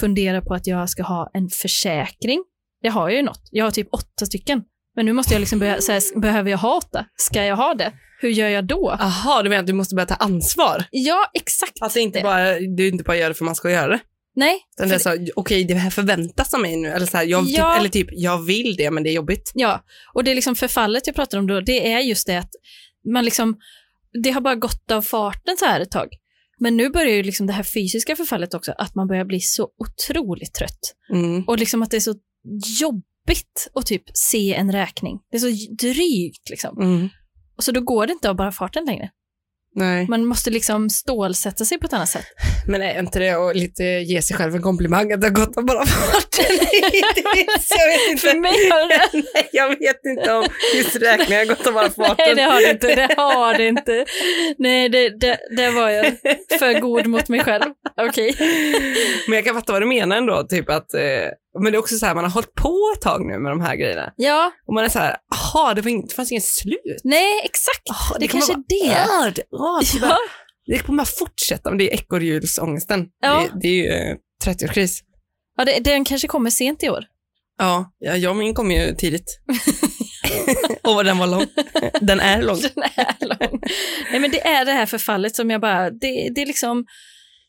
S1: fundera på att jag ska ha en försäkring. Det har jag ju något. Jag har typ åtta stycken. Men nu måste jag liksom börja, så här, s- behöver jag hata? Ska jag ha det? Hur gör jag då?
S2: Aha, du menar att du måste börja ta ansvar?
S1: Ja, exakt.
S2: Att det inte bara, du inte bara gör det för man ska göra det.
S1: Nej.
S2: Utan det är så, här, okej, det här förväntas av mig nu. Eller, så här, jag,
S1: Ja.
S2: typ, eller typ, jag vill det, men det är jobbigt.
S1: Ja, och det är liksom förfallet jag pratar om då, det är just det att man liksom, det har bara gått av farten så här ett tag. Men nu börjar ju liksom det här fysiska förfallet också, att man börjar bli så otroligt trött.
S2: Mm.
S1: Och liksom att det är så jobbigt att typ se en räkning. Det är så drygt liksom.
S2: Mm.
S1: Och så då går det inte av bara farten längre.
S2: Nej.
S1: Man måste liksom stålsätta sig på ett annat sätt.
S2: Men är inte det att lite ge sig själv en komplimang att det har gått av bara farten hittills? Jag vet inte.
S1: För mig har det
S2: Nej, jag vet inte om just räkningar har gått av bara farten.
S1: Nej, det har det inte. Det har det inte. Nej, det, det, det var jag för god mot mig själv. Okej.
S2: Men jag kan fatta vad du menar ändå, typ att, eh, men det är också så här, man har hållit på ett tag nu med de här grejerna.
S1: Ja,
S2: Och man är så här, jaha, det, var inget- det fanns inget slut.
S1: Nej, exakt.
S2: Ah,
S1: det
S2: kommer
S1: kanske
S2: bara-
S1: är det.
S2: Ah, det- ah, det bara-
S1: Ja.
S2: Det kommer bara fortsätta, men det är ekorrhjulsångesten.
S1: Ja.
S2: Det, det är ju eh, 30-årskris.
S1: Ja, det, den kanske kommer sent i år.
S2: Ja, ja, jag och min kom ju tidigt. och vad den var lång. Den är lång.
S1: Den är lång. Nej, men det är det här förfallet som jag bara, det, det är liksom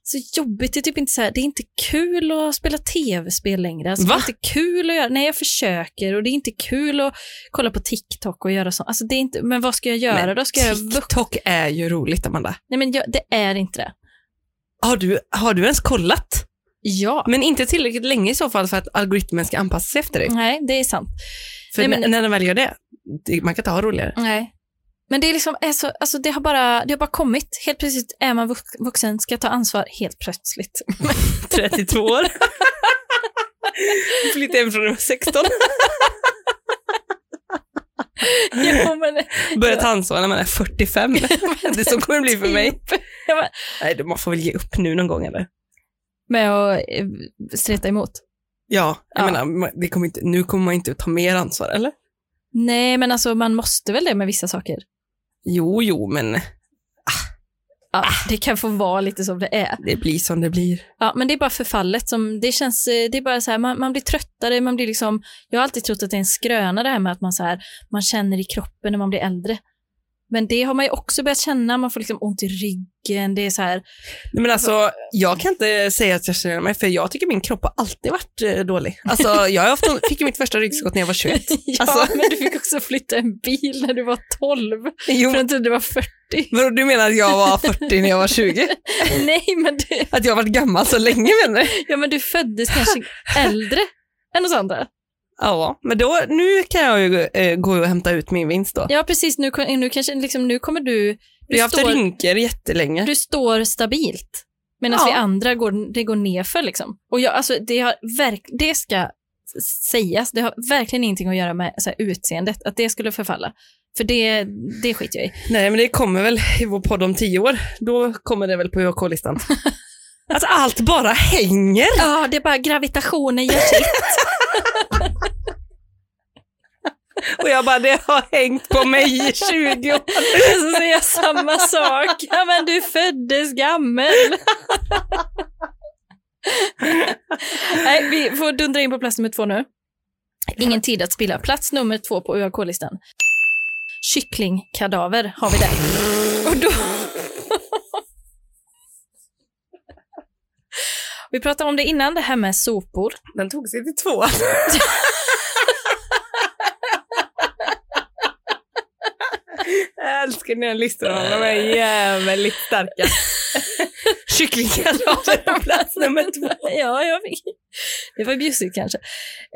S1: så jobbigt. Det är typ inte så här, det är inte kul att spela tv-spel längre. Alltså, det
S2: Va?
S1: är inte kul att göra, nej jag försöker och det är inte kul att kolla på TikTok och göra sånt. Alltså, det är inte, men vad ska jag göra
S2: Men
S1: då? Ska jag... vuxna-
S2: TikTok är ju roligt, Amanda.
S1: Nej, men jag, det är inte det.
S2: Har du, har du ens kollat?
S1: Ja.
S2: Men inte tillräckligt länge i så fall för att algoritmen ska anpassa sig efter dig.
S1: Nej, det är sant.
S2: För
S1: Mm. Nej, men-
S2: när- när den väl gör det, det, man kan inte ha roligare.
S1: Nej. Men det, är liksom, är så- alltså det, har bara, det har bara kommit. Helt plötsligt är man vux- vuxen, ska ta ansvar helt plötsligt.
S2: 32 år. Flyttade hem från när jag var 16.
S1: jo, men,
S2: Börjar ta ansvar när man är 45. Det är så kommer det bli för mig.
S1: typ. Ja, men-
S2: Nej, man får väl ge upp nu någon gång eller?
S1: med att eh, streta emot.
S2: Ja, jag
S1: Ja.
S2: menar, det kommer inte, nu kommer man inte att ta mer ansvar eller?
S1: Nej, men alltså man måste väl det med vissa saker.
S2: Jo, jo, men
S1: Ja, det kan få vara lite som det är.
S2: det blir som det blir.
S1: Ja, men det är bara förfallet som, det känns, eh, det är bara så här, man, man blir tröttare, man blir liksom, jag har alltid trott att det är en skröna det här med att man så här, man känner i kroppen när man blir äldre. Men det har man ju också börjat känna, man får liksom ont i ryggen, det är så här,
S2: Nej, men alltså, jag kan inte säga att jag känner mig, för jag tycker min kropp har alltid varit eh, dålig. Alltså, jag har haft, fick ju mitt första ryggskott när jag var 21.
S1: ja,
S2: Alltså-
S1: men du fick också flytta en bil när du var 12,
S2: Jo,
S1: från till du var 40.
S2: vadå, du menar att jag var 40 när jag var 20?
S1: Nej, men du,
S2: Att jag har varit gammal så länge menar du?
S1: Ja, men du föddes kanske äldre än oss andra.
S2: Ja, men då, nu kan jag ju eh, gå och hämta ut min vinst då.
S1: Ja, precis. Nu, kom- nu, kanske, liksom, nu kommer du...
S2: Jag
S1: Du,
S2: har haft
S1: står,
S2: rynkor jättelänge.
S1: du står stabilt. Medan
S2: Ja.
S1: vi andra går, det går nerför. Liksom. Och jag, alltså, det, har verk, det ska s- sägas, det har verkligen ingenting att göra med så här, utseendet, att det skulle förfalla. För det, det skiter jag i.
S2: Nej, men det kommer väl i vår podd om tio år. Då kommer det väl på UAK-listan. Alltså allt bara hänger.
S1: Ja, det är bara gravitationen gör sitt.
S2: Och jag bara, det har hängt på mig i 20 år.
S1: Så säger jag samma sak. Ja, men du föddes gammel. Nej, vi får dundra in på plats nummer två nu. Ingen tid att spilla. Plats nummer två på UAK-listan. Kycklingkadaver har vi där. Och då... Vi pratade om det innan, det här med sopor.
S2: Den tog sig till två. Jag älskar dina listor, Anna. de är jävligt starka. Kycklingkalater på plats nummer två.
S1: ja, jag vet. Det var bjussigt kanske.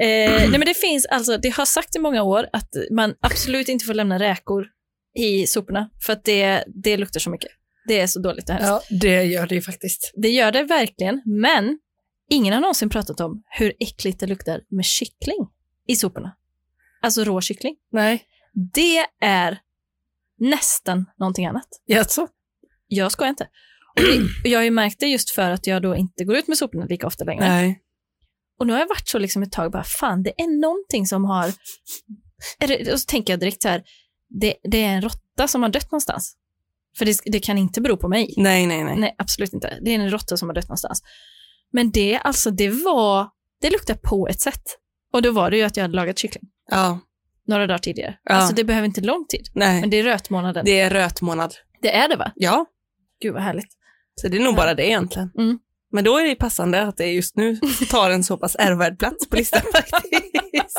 S1: Eh, nej, men det finns alltså, det har sagt i många år att man absolut inte får lämna räkor i soporna för att det, det luktar så mycket. Det är så dåligt och hemskt.
S2: det gör det ju faktiskt.
S1: Det gör det verkligen, men ingen har någonsin pratat om hur äckligt det luktar med kyckling i soporna. Alltså rå kyckling.
S2: Nej.
S1: Det är nästan någonting annat.
S2: Jaså?
S1: Jag skojar inte. Och det, jag har ju märkt det just för att jag då inte går ut med soporna lika ofta längre.
S2: Nej.
S1: Och nu har jag varit så liksom ett tag, bara fan det är någonting som har... Är det, och så tänker jag direkt så här, det, det är en råtta som har dött någonstans. För det, det kan inte bero på mig.
S2: Nej, nej, nej.
S1: Nej, absolut inte. Det är en råtta som har dött någonstans. Men det, alltså det var, det luktar på ett sätt. Och då var det ju att jag hade lagat kyckling.
S2: Ja.
S1: några dagar tidigare.
S2: Ja.
S1: Alltså det behöver inte lång tid, men
S2: Nej,
S1: det är rötmånaden. Det,
S2: det är rötmånad.
S1: det är det va?
S2: Ja,
S1: Gud vad härligt.
S2: så det är nog bara det egentligen.
S1: Mm.
S2: Men då är det passande att det just nu tar en så pass ärvärd plats på listan faktiskt.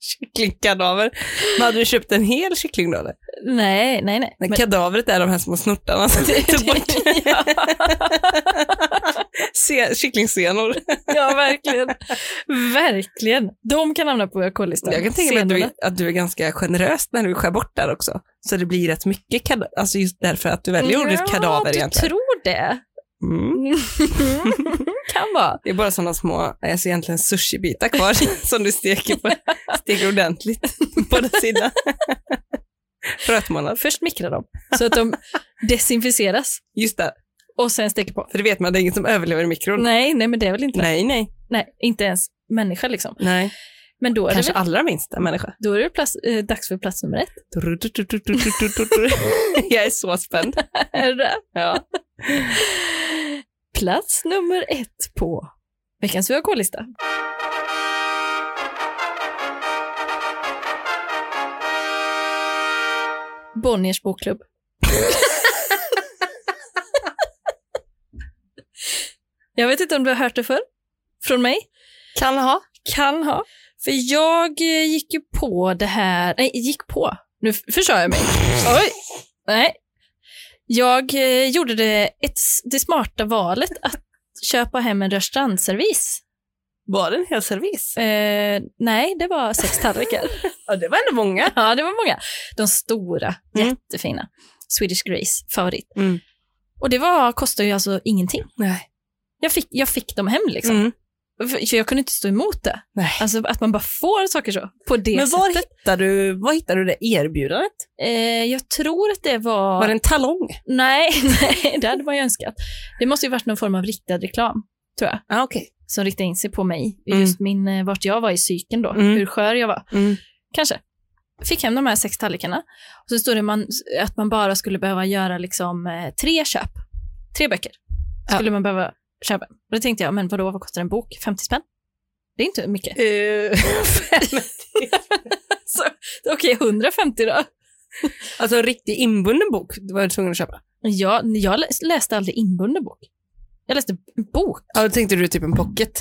S2: Kycklingkadaver. Men hade du köpt en hel kyckling då eller?
S1: Nej, nej, nej.
S2: Men
S1: Men-
S2: kadavret är de här små snortarna som du tog bort.
S1: Ja.
S2: Se- Kycklingsenor.
S1: Ja, verkligen. verkligen. De kan hamna på k-listan.
S2: Jag kan tänka mig att du,
S1: Senorna.
S2: är- att du är ganska generös när du skär bort där också. Så det blir rätt mycket kadaver, alltså just därför att du väljer ordet
S1: ja,
S2: kadaver
S1: du
S2: egentligen.
S1: tror det.
S2: Mm.
S1: kan vara.
S2: Det är bara sådana små, alltså egentligen sushibitar kvar som du steker på, steker ordentligt på båda sidorna. Rötmånad.
S1: Först mikra dem så att de desinficeras
S2: Just det,
S1: och sen steker på.
S2: för det vet man, det är ingen som överlever i mikron.
S1: Nej, nej men det är väl inte
S2: nej. nej.
S1: Nej, inte ens människa liksom.
S2: nej.
S1: Men då är
S2: Kanske
S1: det, väl,
S2: allra minsta människa.
S1: då är det plats, eh, dags för plats nummer ett.
S2: Jag är så spänd.
S1: Är det det?
S2: Ja.
S1: Plats nummer ett på veckans UAK-lista. Bonniers bokklubb. Jag vet inte om du har hört det förr från mig.
S2: Kan ha.
S1: Kan ha. För jag eh, gick ju på det här, nej gick på, nu f- försörjer jag mig. Oj, nej. Jag eh, gjorde det, ett, s- det smarta valet att köpa hem en restaurangservis.
S2: Var det en hel servis?
S1: Eh, nej, det var sex tallrikar.
S2: Ja, det var ändå många.
S1: ja, det var många. De stora,
S2: Mm.
S1: jättefina. Swedish Grace, favorit.
S2: Mm.
S1: Och det var, kostade ju alltså ingenting.
S2: Nej.
S1: Jag fick, jag fick dem hem liksom.
S2: Mm.
S1: För för jag kunde inte stå emot det.
S2: Nej.
S1: Alltså att man bara får saker så, på det
S2: Men
S1: sättet.
S2: var hittar, du, var hittar du det erbjudandet?
S1: Eh, jag tror att det var...
S2: Var det en talong?
S1: Nej, nej, det hade man ju önskat. Det måste ju varit någon form av riktad reklam, tror jag,
S2: Ja, okej.
S1: som riktade in sig på mig.
S2: Mm.
S1: Just min, eh, vart jag var i psyken då,
S2: Mm.
S1: hur skör jag var. Kanske. Fick hem de här sex tallrikarna. Och så stod det man, att man bara skulle behöva göra liksom, eh, tre köp. Tre böcker
S2: Ja.
S1: skulle man behöva köpa. Och då tänkte jag, men vadå, vad kostar en bok? 50 spänn? Det är inte mycket.
S2: Eh,
S1: Så, Okej, 150 då?
S2: alltså en riktig inbunden bok du var tvungen att köpa.
S1: Jag, jag läs- läste aldrig inbunden bok. Jag läste en bok.
S2: Ja, då tänkte du typ en pocket.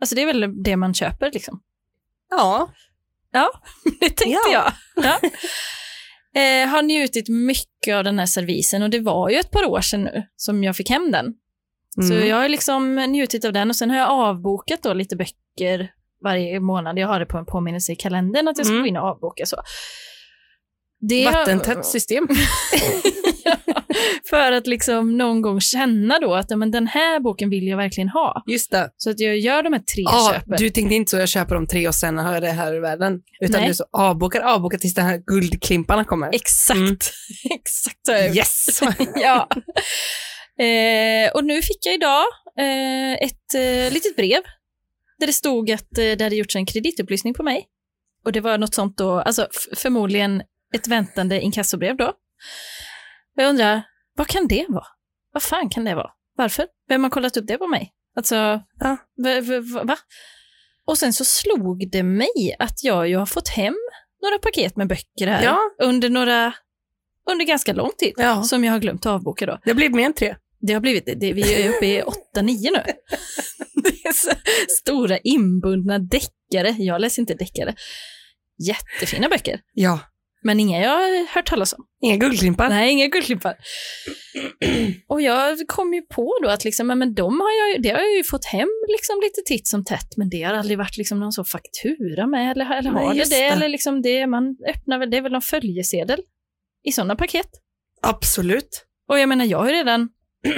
S1: Alltså det är väl det man köper liksom.
S2: Ja.
S1: Det tänkte
S2: Ja.
S1: jag. Ja. Eh, har njutit mycket av den här servisen och det var ju ett par år sedan nu som jag fick hem den.
S2: Mm.
S1: Så jag har liksom njutit av den och sen har jag avbokat då lite böcker varje månad. Jag har det på en påminnelse i kalendern att jag ska
S2: Mm.
S1: gå in och avboka så. Det har-
S2: Vattentätt system.
S1: För att liksom någon gång känna då att ja, men den här boken vill jag verkligen ha.
S2: Just det.
S1: Så att jag gör de här tre
S2: Ja,
S1: köpen.
S2: du tänkte inte så, jag köper de tre och sen har jag det här i världen. Utan
S1: Nej.
S2: du så avbokar, avbokar tills de här guldklimparna kommer.
S1: Exakt,
S2: Mm.
S1: exakt så har jag gjort.
S2: Yes!
S1: ja. Eh, och nu fick jag idag eh, ett eh, litet brev där det stod att eh, det hade gjorts en kreditupplysning på mig. Och det var något sånt då, alltså f- förmodligen ett väntande inkassobrev då. Och jag undrar, vad kan det vara? Vad fan kan det vara? Varför? Vem har kollat upp det på mig? Alltså,
S2: Ja.
S1: v- v- v- va? Och sen så slog det mig att jag ju har fått hem några paket med böcker här
S2: Ja.
S1: under några, under ganska lång tid
S2: Ja.
S1: som jag har glömt att avboka då.
S2: Det blev mer än tre.
S1: Det har blivit, det, vi är uppe i 8-9 nu. Det är så stora inbundna deckare. Jag läser inte deckare. Jättefina böcker,
S2: Ja.
S1: men inga jag har hört talas om.
S2: Inga guldklimpar.
S1: Nej, inga guldklimpar. Och jag kom ju på då att liksom, ja, men de har jag, ju- det har jag ju fått hem liksom lite titt som tätt, men det har aldrig varit liksom någon så faktura med eller, eller
S2: Nej,
S1: har det
S2: just
S1: det.
S2: det.
S1: Eller liksom det, man öppnar väl, det är väl någon följesedel i sådana paket.
S2: Absolut.
S1: Och jag menar, jag har ju redan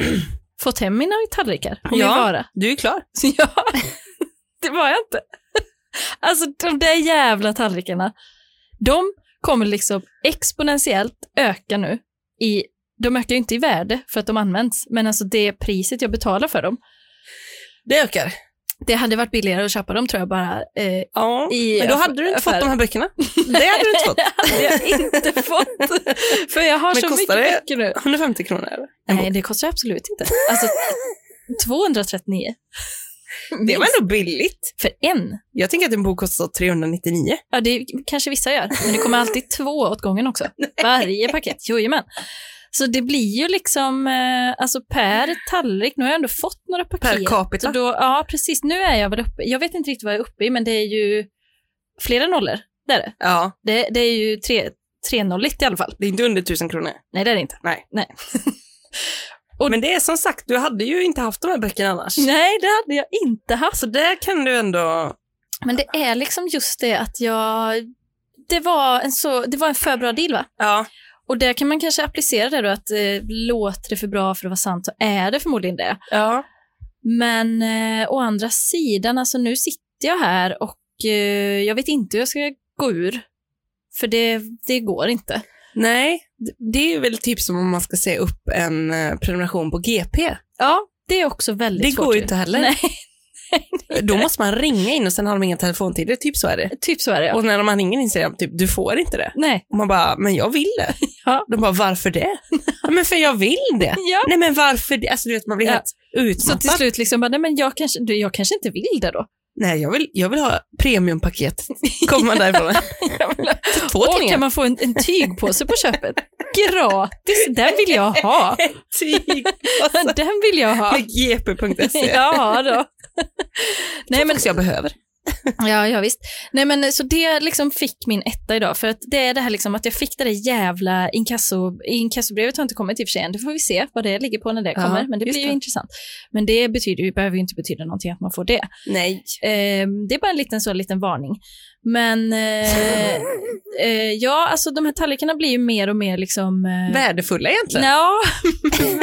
S1: fått hem mina tallrikar. Om
S2: Ja.
S1: ja. Vara.
S2: Du är klar.
S1: Så ja, det var jag inte. Alltså de där jävla tallrikarna, de kommer liksom exponentiellt öka nu. I, de ökar ju inte i värde för att de används, men alltså det priset jag betalar för dem.
S2: Det ökar.
S1: Det hade varit billigare att köpa dem tror jag bara. Eh,
S2: Ja.
S1: I
S2: Men då hade du inte fått
S1: affären.
S2: de här böckerna. Det hade du inte fått.
S1: det hade jag inte fått. För jag har
S2: Men
S1: så mycket
S2: kostar det-
S1: böcker nu.
S2: 150 kronor eller? En
S1: Nej, det kostar absolut inte. Alltså 239.
S2: Det var nog billigt.
S1: För en?
S2: Jag tänker att en bok kostar 399.
S1: Ja, det kanske vissa gör, men det kommer alltid två åt gången också. Varje paket, jojomän. Så det blir ju liksom, eh, alltså per tallrik, nu har jag ändå fått några paket.
S2: Per capita.
S1: Så då, ja, precis. Nu är jag väl uppe, jag vet inte riktigt vad jag är uppe i, men det är ju flera nollor. Det är det.
S2: Ja,
S1: Det, det är ju tre, trenolligt i alla fall.
S2: det är inte under 1000 kronor.
S1: Nej, det är det inte.
S2: Men det är som sagt, du hade ju inte haft de här böckerna annars.
S1: Nej, det hade jag inte haft.
S2: Så där kan du ändå...
S1: Men det är liksom just det att jag... Det var en, så, det var en för bra deal, va?
S2: Ja,
S1: Och där kan man kanske applicera det då, att eh, låter det för bra för att vara sant så är det förmodligen det.
S2: ja.
S1: Men eh, å andra sidan, alltså nu sitter jag här och eh, jag vet inte hur jag ska gå ur. För det, det går inte.
S2: Nej, d- det är väl typ som om man ska säga upp en eh, prenumeration på GP.
S1: Ja, det är också väldigt
S2: Det
S1: svårt.
S2: går ju
S1: ju.
S2: inte heller.
S1: Nej,
S2: Då måste man ringa in och sen har de inga telefontider, typ så är det.
S1: typ så är det. Ja.
S2: Och när man ringer in säger de typ, du får inte det.
S1: Nej.
S2: Och man bara, men jag vill det.
S1: Ja.
S2: De bara, varför det? "Ja, men för jag vill det.
S1: Ja.
S2: Nej men varför det? Alltså du vet, man blir
S1: Ja.
S2: helt
S1: Så
S2: utmattad.
S1: till slut liksom, bara, nej men jag kanske, du, jag kanske inte vill det då.
S2: Nej, jag vill, jag vill ha premiumpaket. Kommer man därifrån. För två
S1: Och kan
S2: tidningar.
S1: man få en, en tygpåse på köpet? Gratis! Den vill jag ha!
S2: Tyg.
S1: Den vill jag ha!
S2: Med gp.se.
S1: Ja då. Nej men,
S2: jag behöver.
S1: ja, ja visst. Nej men så det liksom fick min etta idag, för att det är det här liksom att jag fick det där jävla inkasso, inkassobrevet har inte kommit i och för sig än, det får vi se vad det ligger på när det
S2: Ja,
S1: kommer, men det
S2: just
S1: blir ju
S2: det.
S1: intressant. Men det betyder ju, behöver ju inte betyda någonting att man får det.
S2: Nej.
S1: Ehm, det är bara en liten, så liten varning. Men eh, eh, ja, alltså de här tallrikarna blir ju mer och mer liksom... Eh,
S2: Värdefulla egentligen.
S1: Ja,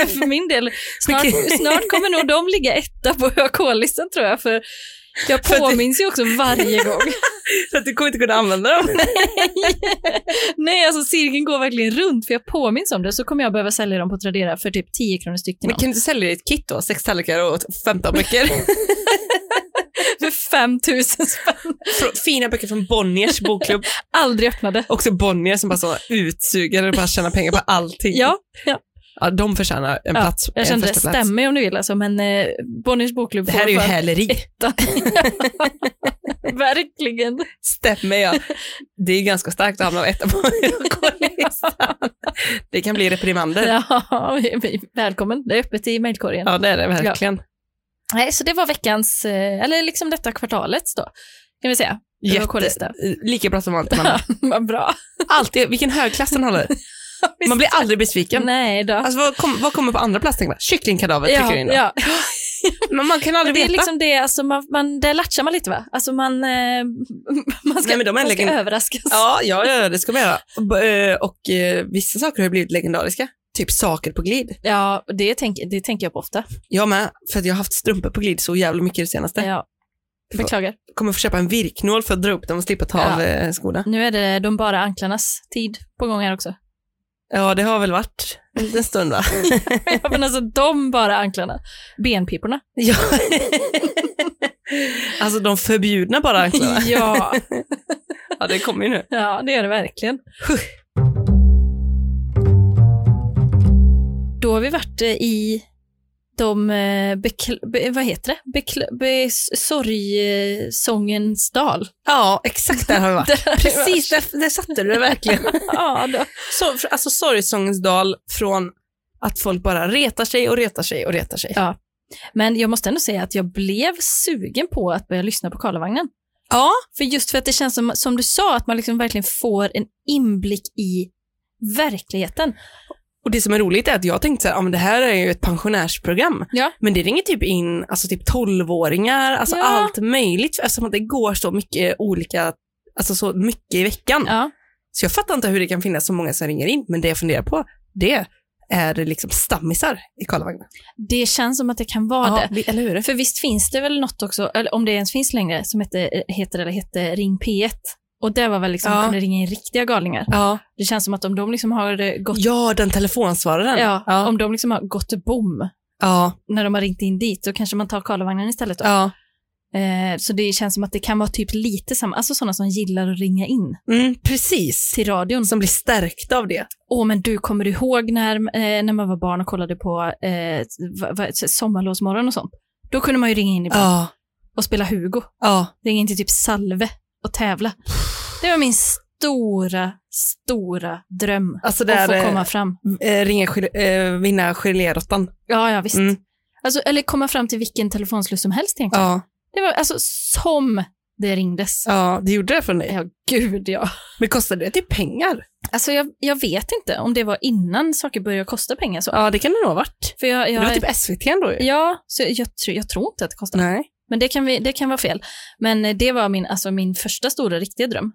S1: för min del. Snart,
S2: Vilket-
S1: snart kommer nog de ligga etta på ÖK-listan tror jag, för jag
S2: För att-
S1: påminns ju också varje gång.
S2: Så att du kommer inte kunna använda dem.
S1: Nej, alltså cirkeln går verkligen runt, för jag påminns om det, så kommer jag behöva sälja dem på Tradera för typ 10 kronor styck till
S2: Men
S1: någon.
S2: kan du inte sälja dig ett kit då? Sex tallrikar och 15 böcker.
S1: För 5 000 spänn.
S2: Frå- Fina böcker från Bonniers bokklubb.
S1: Aldrig öppnade.
S2: Också Bonnier som bara så utsugare och bara tjänar pengar på allting.
S1: Ja, ja.
S2: ja de förtjänar en
S1: Ja,
S2: plats.
S1: jag
S2: en
S1: kände det
S2: första plats.
S1: stämmer om du vill, alltså, men eh, Bonniers bokklubb
S2: Det här är ju
S1: fan-
S2: häleri.
S1: Verkligen.
S2: Stämmer jag. Det är ganska starkt att hamna etta på ögonlistan. Det kan bli reprimander. Ja.
S1: Ja, välkommen. Det är öppet i mejlkorgen.
S2: det är det verkligen.
S1: Nej, så det var veckans, eh, eller liksom detta kvartalets då, kan vi säga. Det var K-lista.
S2: lika bra som vanligt. Amanda.
S1: Vad bra.
S2: Alltid, vilken hög klass den håller. Man blir aldrig besviken.
S1: Nej då.
S2: Alltså, vad, kom, vad kommer på andra plats? tänker man? Kycklingkadaver trycker du in då.
S1: ja.
S2: Men man kan aldrig
S1: Det är
S2: veta.
S1: liksom det, alltså man, man, där latchar man lite va? Alltså man, eh, man ska,
S2: Nej, men de är
S1: man ska
S2: lägen-
S1: överraskas.
S2: Ja, ja, ja, det ska man göra. Och, eh, Och eh, vissa saker har ju blivit legendariska. Typ saker på glid.
S1: Ja, det, tänk, det tänker jag på ofta.
S2: Jag med, för att jag har haft strumpor på glid så jävla mycket det senaste.
S1: Ja. Beklagar.
S2: Kommer få köpa en virknål för att dra upp dem och slippa ta
S1: Ja.
S2: av eh, skorna.
S1: Nu är det de bara anklarnas tid på gång här också.
S2: Ja, det har väl varit en liten stund va?
S1: Ja, men alltså de bara anklarna. Benpiporna.
S2: ja. alltså de förbjudna bara anklarna.
S1: Ja,
S2: Ja, det kommer ju nu.
S1: ja, det är det verkligen. Då har vi varit eh, i de, eh, bekl- be, vad heter det, bekl- be, sorgsångens dal.
S2: Ja, exakt där har vi varit.
S1: Där har vi
S2: Precis, där, där satte du det verkligen.
S1: Ja, då.
S2: Så, för- alltså sorgsångens dal från att folk bara retar sig och retar sig och retar sig.
S1: Ja. Men jag måste ändå säga att jag blev sugen på att börja lyssna på Karlavagnen.
S2: Ja.
S1: För just för att det känns som, som du sa, att man liksom verkligen får en inblick i verkligheten.
S2: Och det som är roligt är att jag tänkte så här, ah, men det här är ju ett pensionärsprogram.
S1: Ja.
S2: Men det ringer typ in alltså typ 12-åringar, alltså
S1: Ja.
S2: allt möjligt eftersom att det går så mycket olika, alltså så mycket i veckan.
S1: Ja,
S2: Så jag fattar inte hur det kan finnas så många som ringer in, men det jag funderar på, det är liksom stammisar i Karlavagnen.
S1: det känns som att det kan vara det.
S2: eller hur?
S1: För visst finns det väl något också, eller om det ens finns längre, som heter, heter eller hette Ring P1. Och det var väl liksom,
S2: Ja.
S1: kunde ringa in riktiga galningar.
S2: Ja.
S1: Det känns som att om de liksom har eh, gått,
S2: ja, den telefonsvararen.
S1: ja,
S2: ja.
S1: om de liksom har gått till bom
S2: ja.
S1: när de har ringt in dit, då kanske man tar Karlavagnen istället. Då.
S2: ja.
S1: Eh, så det känns som att det kan vara typ lite samma, alltså sådana som gillar att ringa in
S2: Mm, precis.
S1: till radion.
S2: Som blir stärkta av det.
S1: Åh, men du, kommer du ihåg när, eh, när man var barn och kollade på eh, va, va, sommarlovsmorgon och sånt? Då kunde man ju ringa in ibland
S2: Ja,
S1: och spela Hugo.
S2: ja.
S1: Ringa in till typ Salve och tävla. Det var min stora, stora dröm.
S2: Alltså
S1: Att få
S2: eh,
S1: komma fram. Mm.
S2: eh, ringa, gel- eh, vinna geléråttan.
S1: Ja, ja visst.
S2: Mm.
S1: Alltså, eller komma fram till vilken telefonsluss som helst egentligen.
S2: Ja,
S1: Det var alltså som det ringdes.
S2: ja, det gjorde det för dig.
S1: Ja, gud ja.
S2: Men kostade det typ pengar?
S1: Alltså jag, jag vet inte om det var innan saker började kosta pengar. Så.
S2: Ja, det kan det nog ha varit.
S1: För jag, jag,
S2: Det var typ SVT ändå ju.
S1: Ja, så jag, tror- jag tror inte att det kostade.
S2: Nej.
S1: Men det kan, vi, det kan vara fel. Men eh, det var min, alltså min första stora riktiga dröm.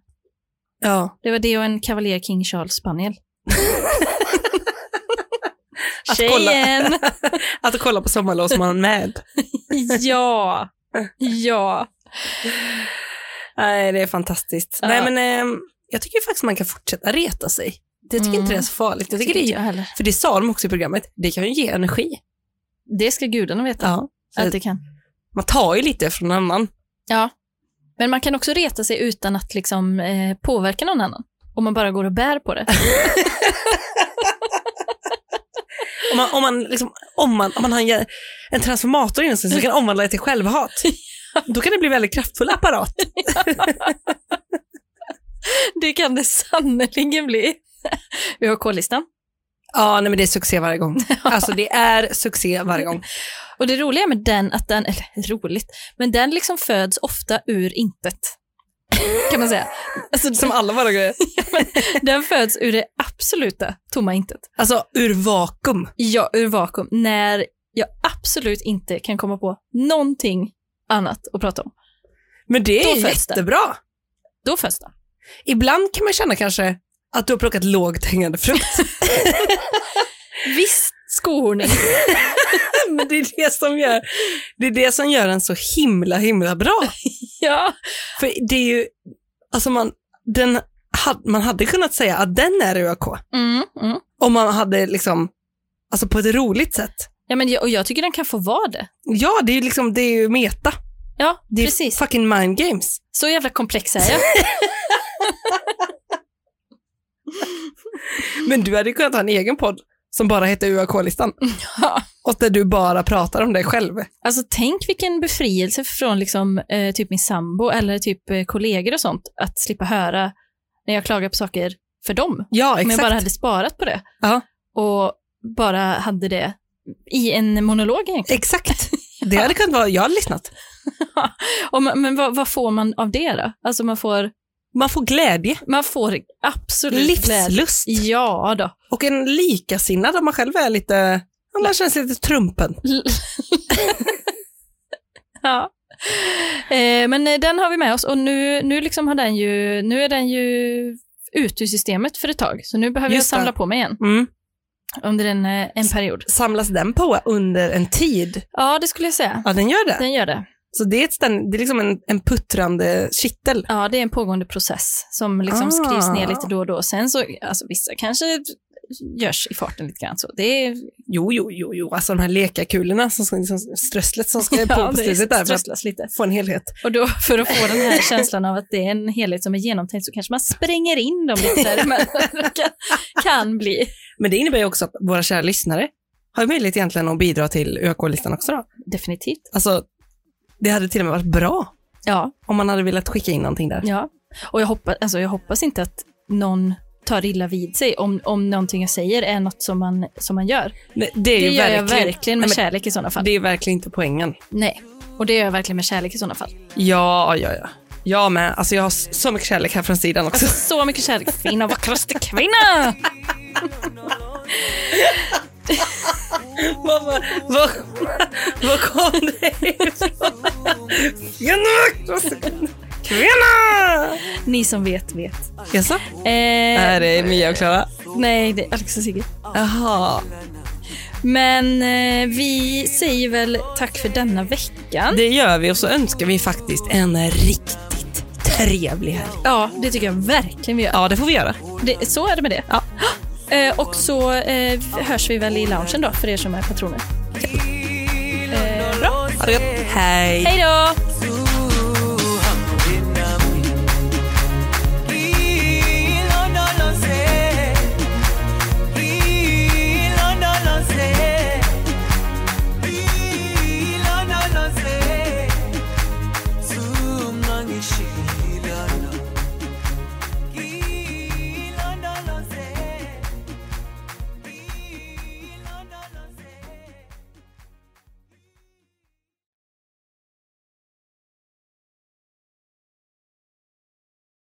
S2: Ja.
S1: Det var det och en Cavalier King Charles Spaniel.
S2: Att kolla.
S1: Tjejen!
S2: Att kolla på Sommarlovsmannen med.
S1: ja, ja.
S2: Nej, det är fantastiskt.
S1: Ja.
S2: Nej, men ehm, jag tycker faktiskt man kan fortsätta reta sig. Det tycker
S1: Mm.
S2: inte det är så farligt. Jag tycker det är,
S1: jag heller.
S2: för det sa de också i programmet, det kan ju ge energi.
S1: Det ska gudarna veta
S2: Ja.
S1: att det kan.
S2: Man tar ju lite från någon annan.
S1: Ja. Men man kan också reta sig utan att liksom, eh, påverka någon annan. Om man bara går och bär på det.
S2: Om man, om man, liksom, om man, om man har en, en transformator inom sig som kan omvandla det till självhat, då kan det bli väldigt kraftfull apparat.
S1: det kan det sannerligen bli. Vi har K-listan.
S2: Ja, nej, men det är succé varje gång. Alltså det är succé varje gång.
S1: Och det roliga med den, att den, eller roligt, men den liksom föds ofta ur intet. Kan man säga. Alltså,
S2: Som alla våra grejer.
S1: den föds ur det absoluta tomma intet.
S2: Alltså ur vakuum.
S1: Ja, ur vakuum. När jag absolut inte kan komma på någonting annat att prata om.
S2: Men det
S1: Då
S2: är
S1: föds det.
S2: jättebra.
S1: Då föds den.
S2: Ibland kan man känna kanske att du har plockat lågt hängande frukt.
S1: Visst, skohorning.
S2: Men det är det som gör, det är det som gör den så himla, himla bra.
S1: ja.
S2: För det är ju, alltså man, den, had- man hade kunnat säga att den är ÖAK.
S1: Mm, mm.
S2: Om man hade liksom, alltså på ett roligt sätt.
S1: ja men jag, och jag tycker den kan få vara det.
S2: Ja, det är ju liksom, det är ju meta.
S1: Ja,
S2: Det är
S1: precis.
S2: fucking mind games.
S1: Så jävla komplex är jag.
S2: Men du hade ju kunnat ha en egen podd som bara heter UAK-listan.
S1: Ja.
S2: Och där du bara pratar om dig själv.
S1: Alltså tänk vilken befrielse från liksom, eh, typ min sambo eller typ eh, kollegor och sånt, att slippa höra när jag klagar på saker för dem.
S2: Ja,
S1: Om
S2: exakt.
S1: jag bara hade sparat på det
S2: Ja.
S1: och bara hade det i en monolog egentligen.
S2: Exakt. Det hade kunnat vara, jag hade lyssnat.
S1: Och, ma- men vad, vad får man av det då? Alltså man får,
S2: Man får glädje,
S1: man får absolut glädje.
S2: livslust
S1: Ja då.
S2: och en likasinnad om man själv är lite, om man känns lite trumpen.
S1: Ja. Eh, men eh, den har vi med oss och nu, nu, liksom har den ju, nu är den ju ute ur systemet för ett tag, så nu behöver
S2: Just det.
S1: jag samla på mig igen.
S2: Mm.
S1: under en, eh, en period.
S2: Samlas den på under en tid?
S1: Ja, det skulle jag säga.
S2: Ja, den gör det.
S1: Den gör det.
S2: Så det är, ett ständ, det är liksom en, en puttrande kittel.
S1: Ja, det är en pågående process som liksom
S2: Ah.
S1: skrivs ner lite då och då. Sen så, alltså vissa kanske görs i farten lite grann så. Det är,
S2: Jo, jo, jo, jo, alltså de här lekakulorna, som ska, liksom, strösslet som ska på
S1: ja,
S2: på
S1: det
S2: slutet där för att
S1: strösslas lite.
S2: få en helhet.
S1: Och då för att få den här känslan av att det är en helhet som är genomtänkt så kanske man spränger in dem lite däremellan. Det kan, kan bli.
S2: Men det innebär ju också att våra kära lyssnare har ju möjlighet egentligen att bidra till ÖK-listan också då.
S1: Definitivt.
S2: Alltså, det hade till och med varit bra
S1: Ja,
S2: om man hade velat skicka in någonting där.
S1: ja. Och jag hoppas, alltså jag hoppas inte att någon tar illa vid sig om, om någonting jag säger är något som man, som man gör.
S2: Nej, det är
S1: Det
S2: ju
S1: gör jag
S2: verkligen,
S1: verkligen med
S2: Nej, men
S1: kärlek i sådana fall.
S2: Det är verkligen inte poängen.
S1: Nej, och det gör jag verkligen med kärlek i sådana fall.
S2: Ja, ja, ja. Jag med. Alltså jag har s- så mycket kärlek här från sidan också.
S1: Så mycket kärlek, fina vackraste kvinna!
S2: vad, vad, vad, vad kom det ifrån?
S1: alltså.
S2: Genom- Kvinna!
S1: Ni som vet, vet.
S2: Jaså?
S1: Eh,
S2: Nej, det är Mia och Klara.
S1: nej, det är Alex och Sigge.
S2: Jaha.
S1: Men eh, vi säger väl tack för denna veckan.
S2: Det gör vi och så önskar vi faktiskt en riktigt trevlig helg.
S1: Ja, det tycker jag verkligen vi gör.
S2: Ja, det får vi göra.
S1: Det, så är det med det.
S2: Ja.
S1: Eh, och så eh, hörs vi väl i loungen då, för er som är patroner. Eh, bra,
S2: Ha det gott. Hej.
S1: hej då!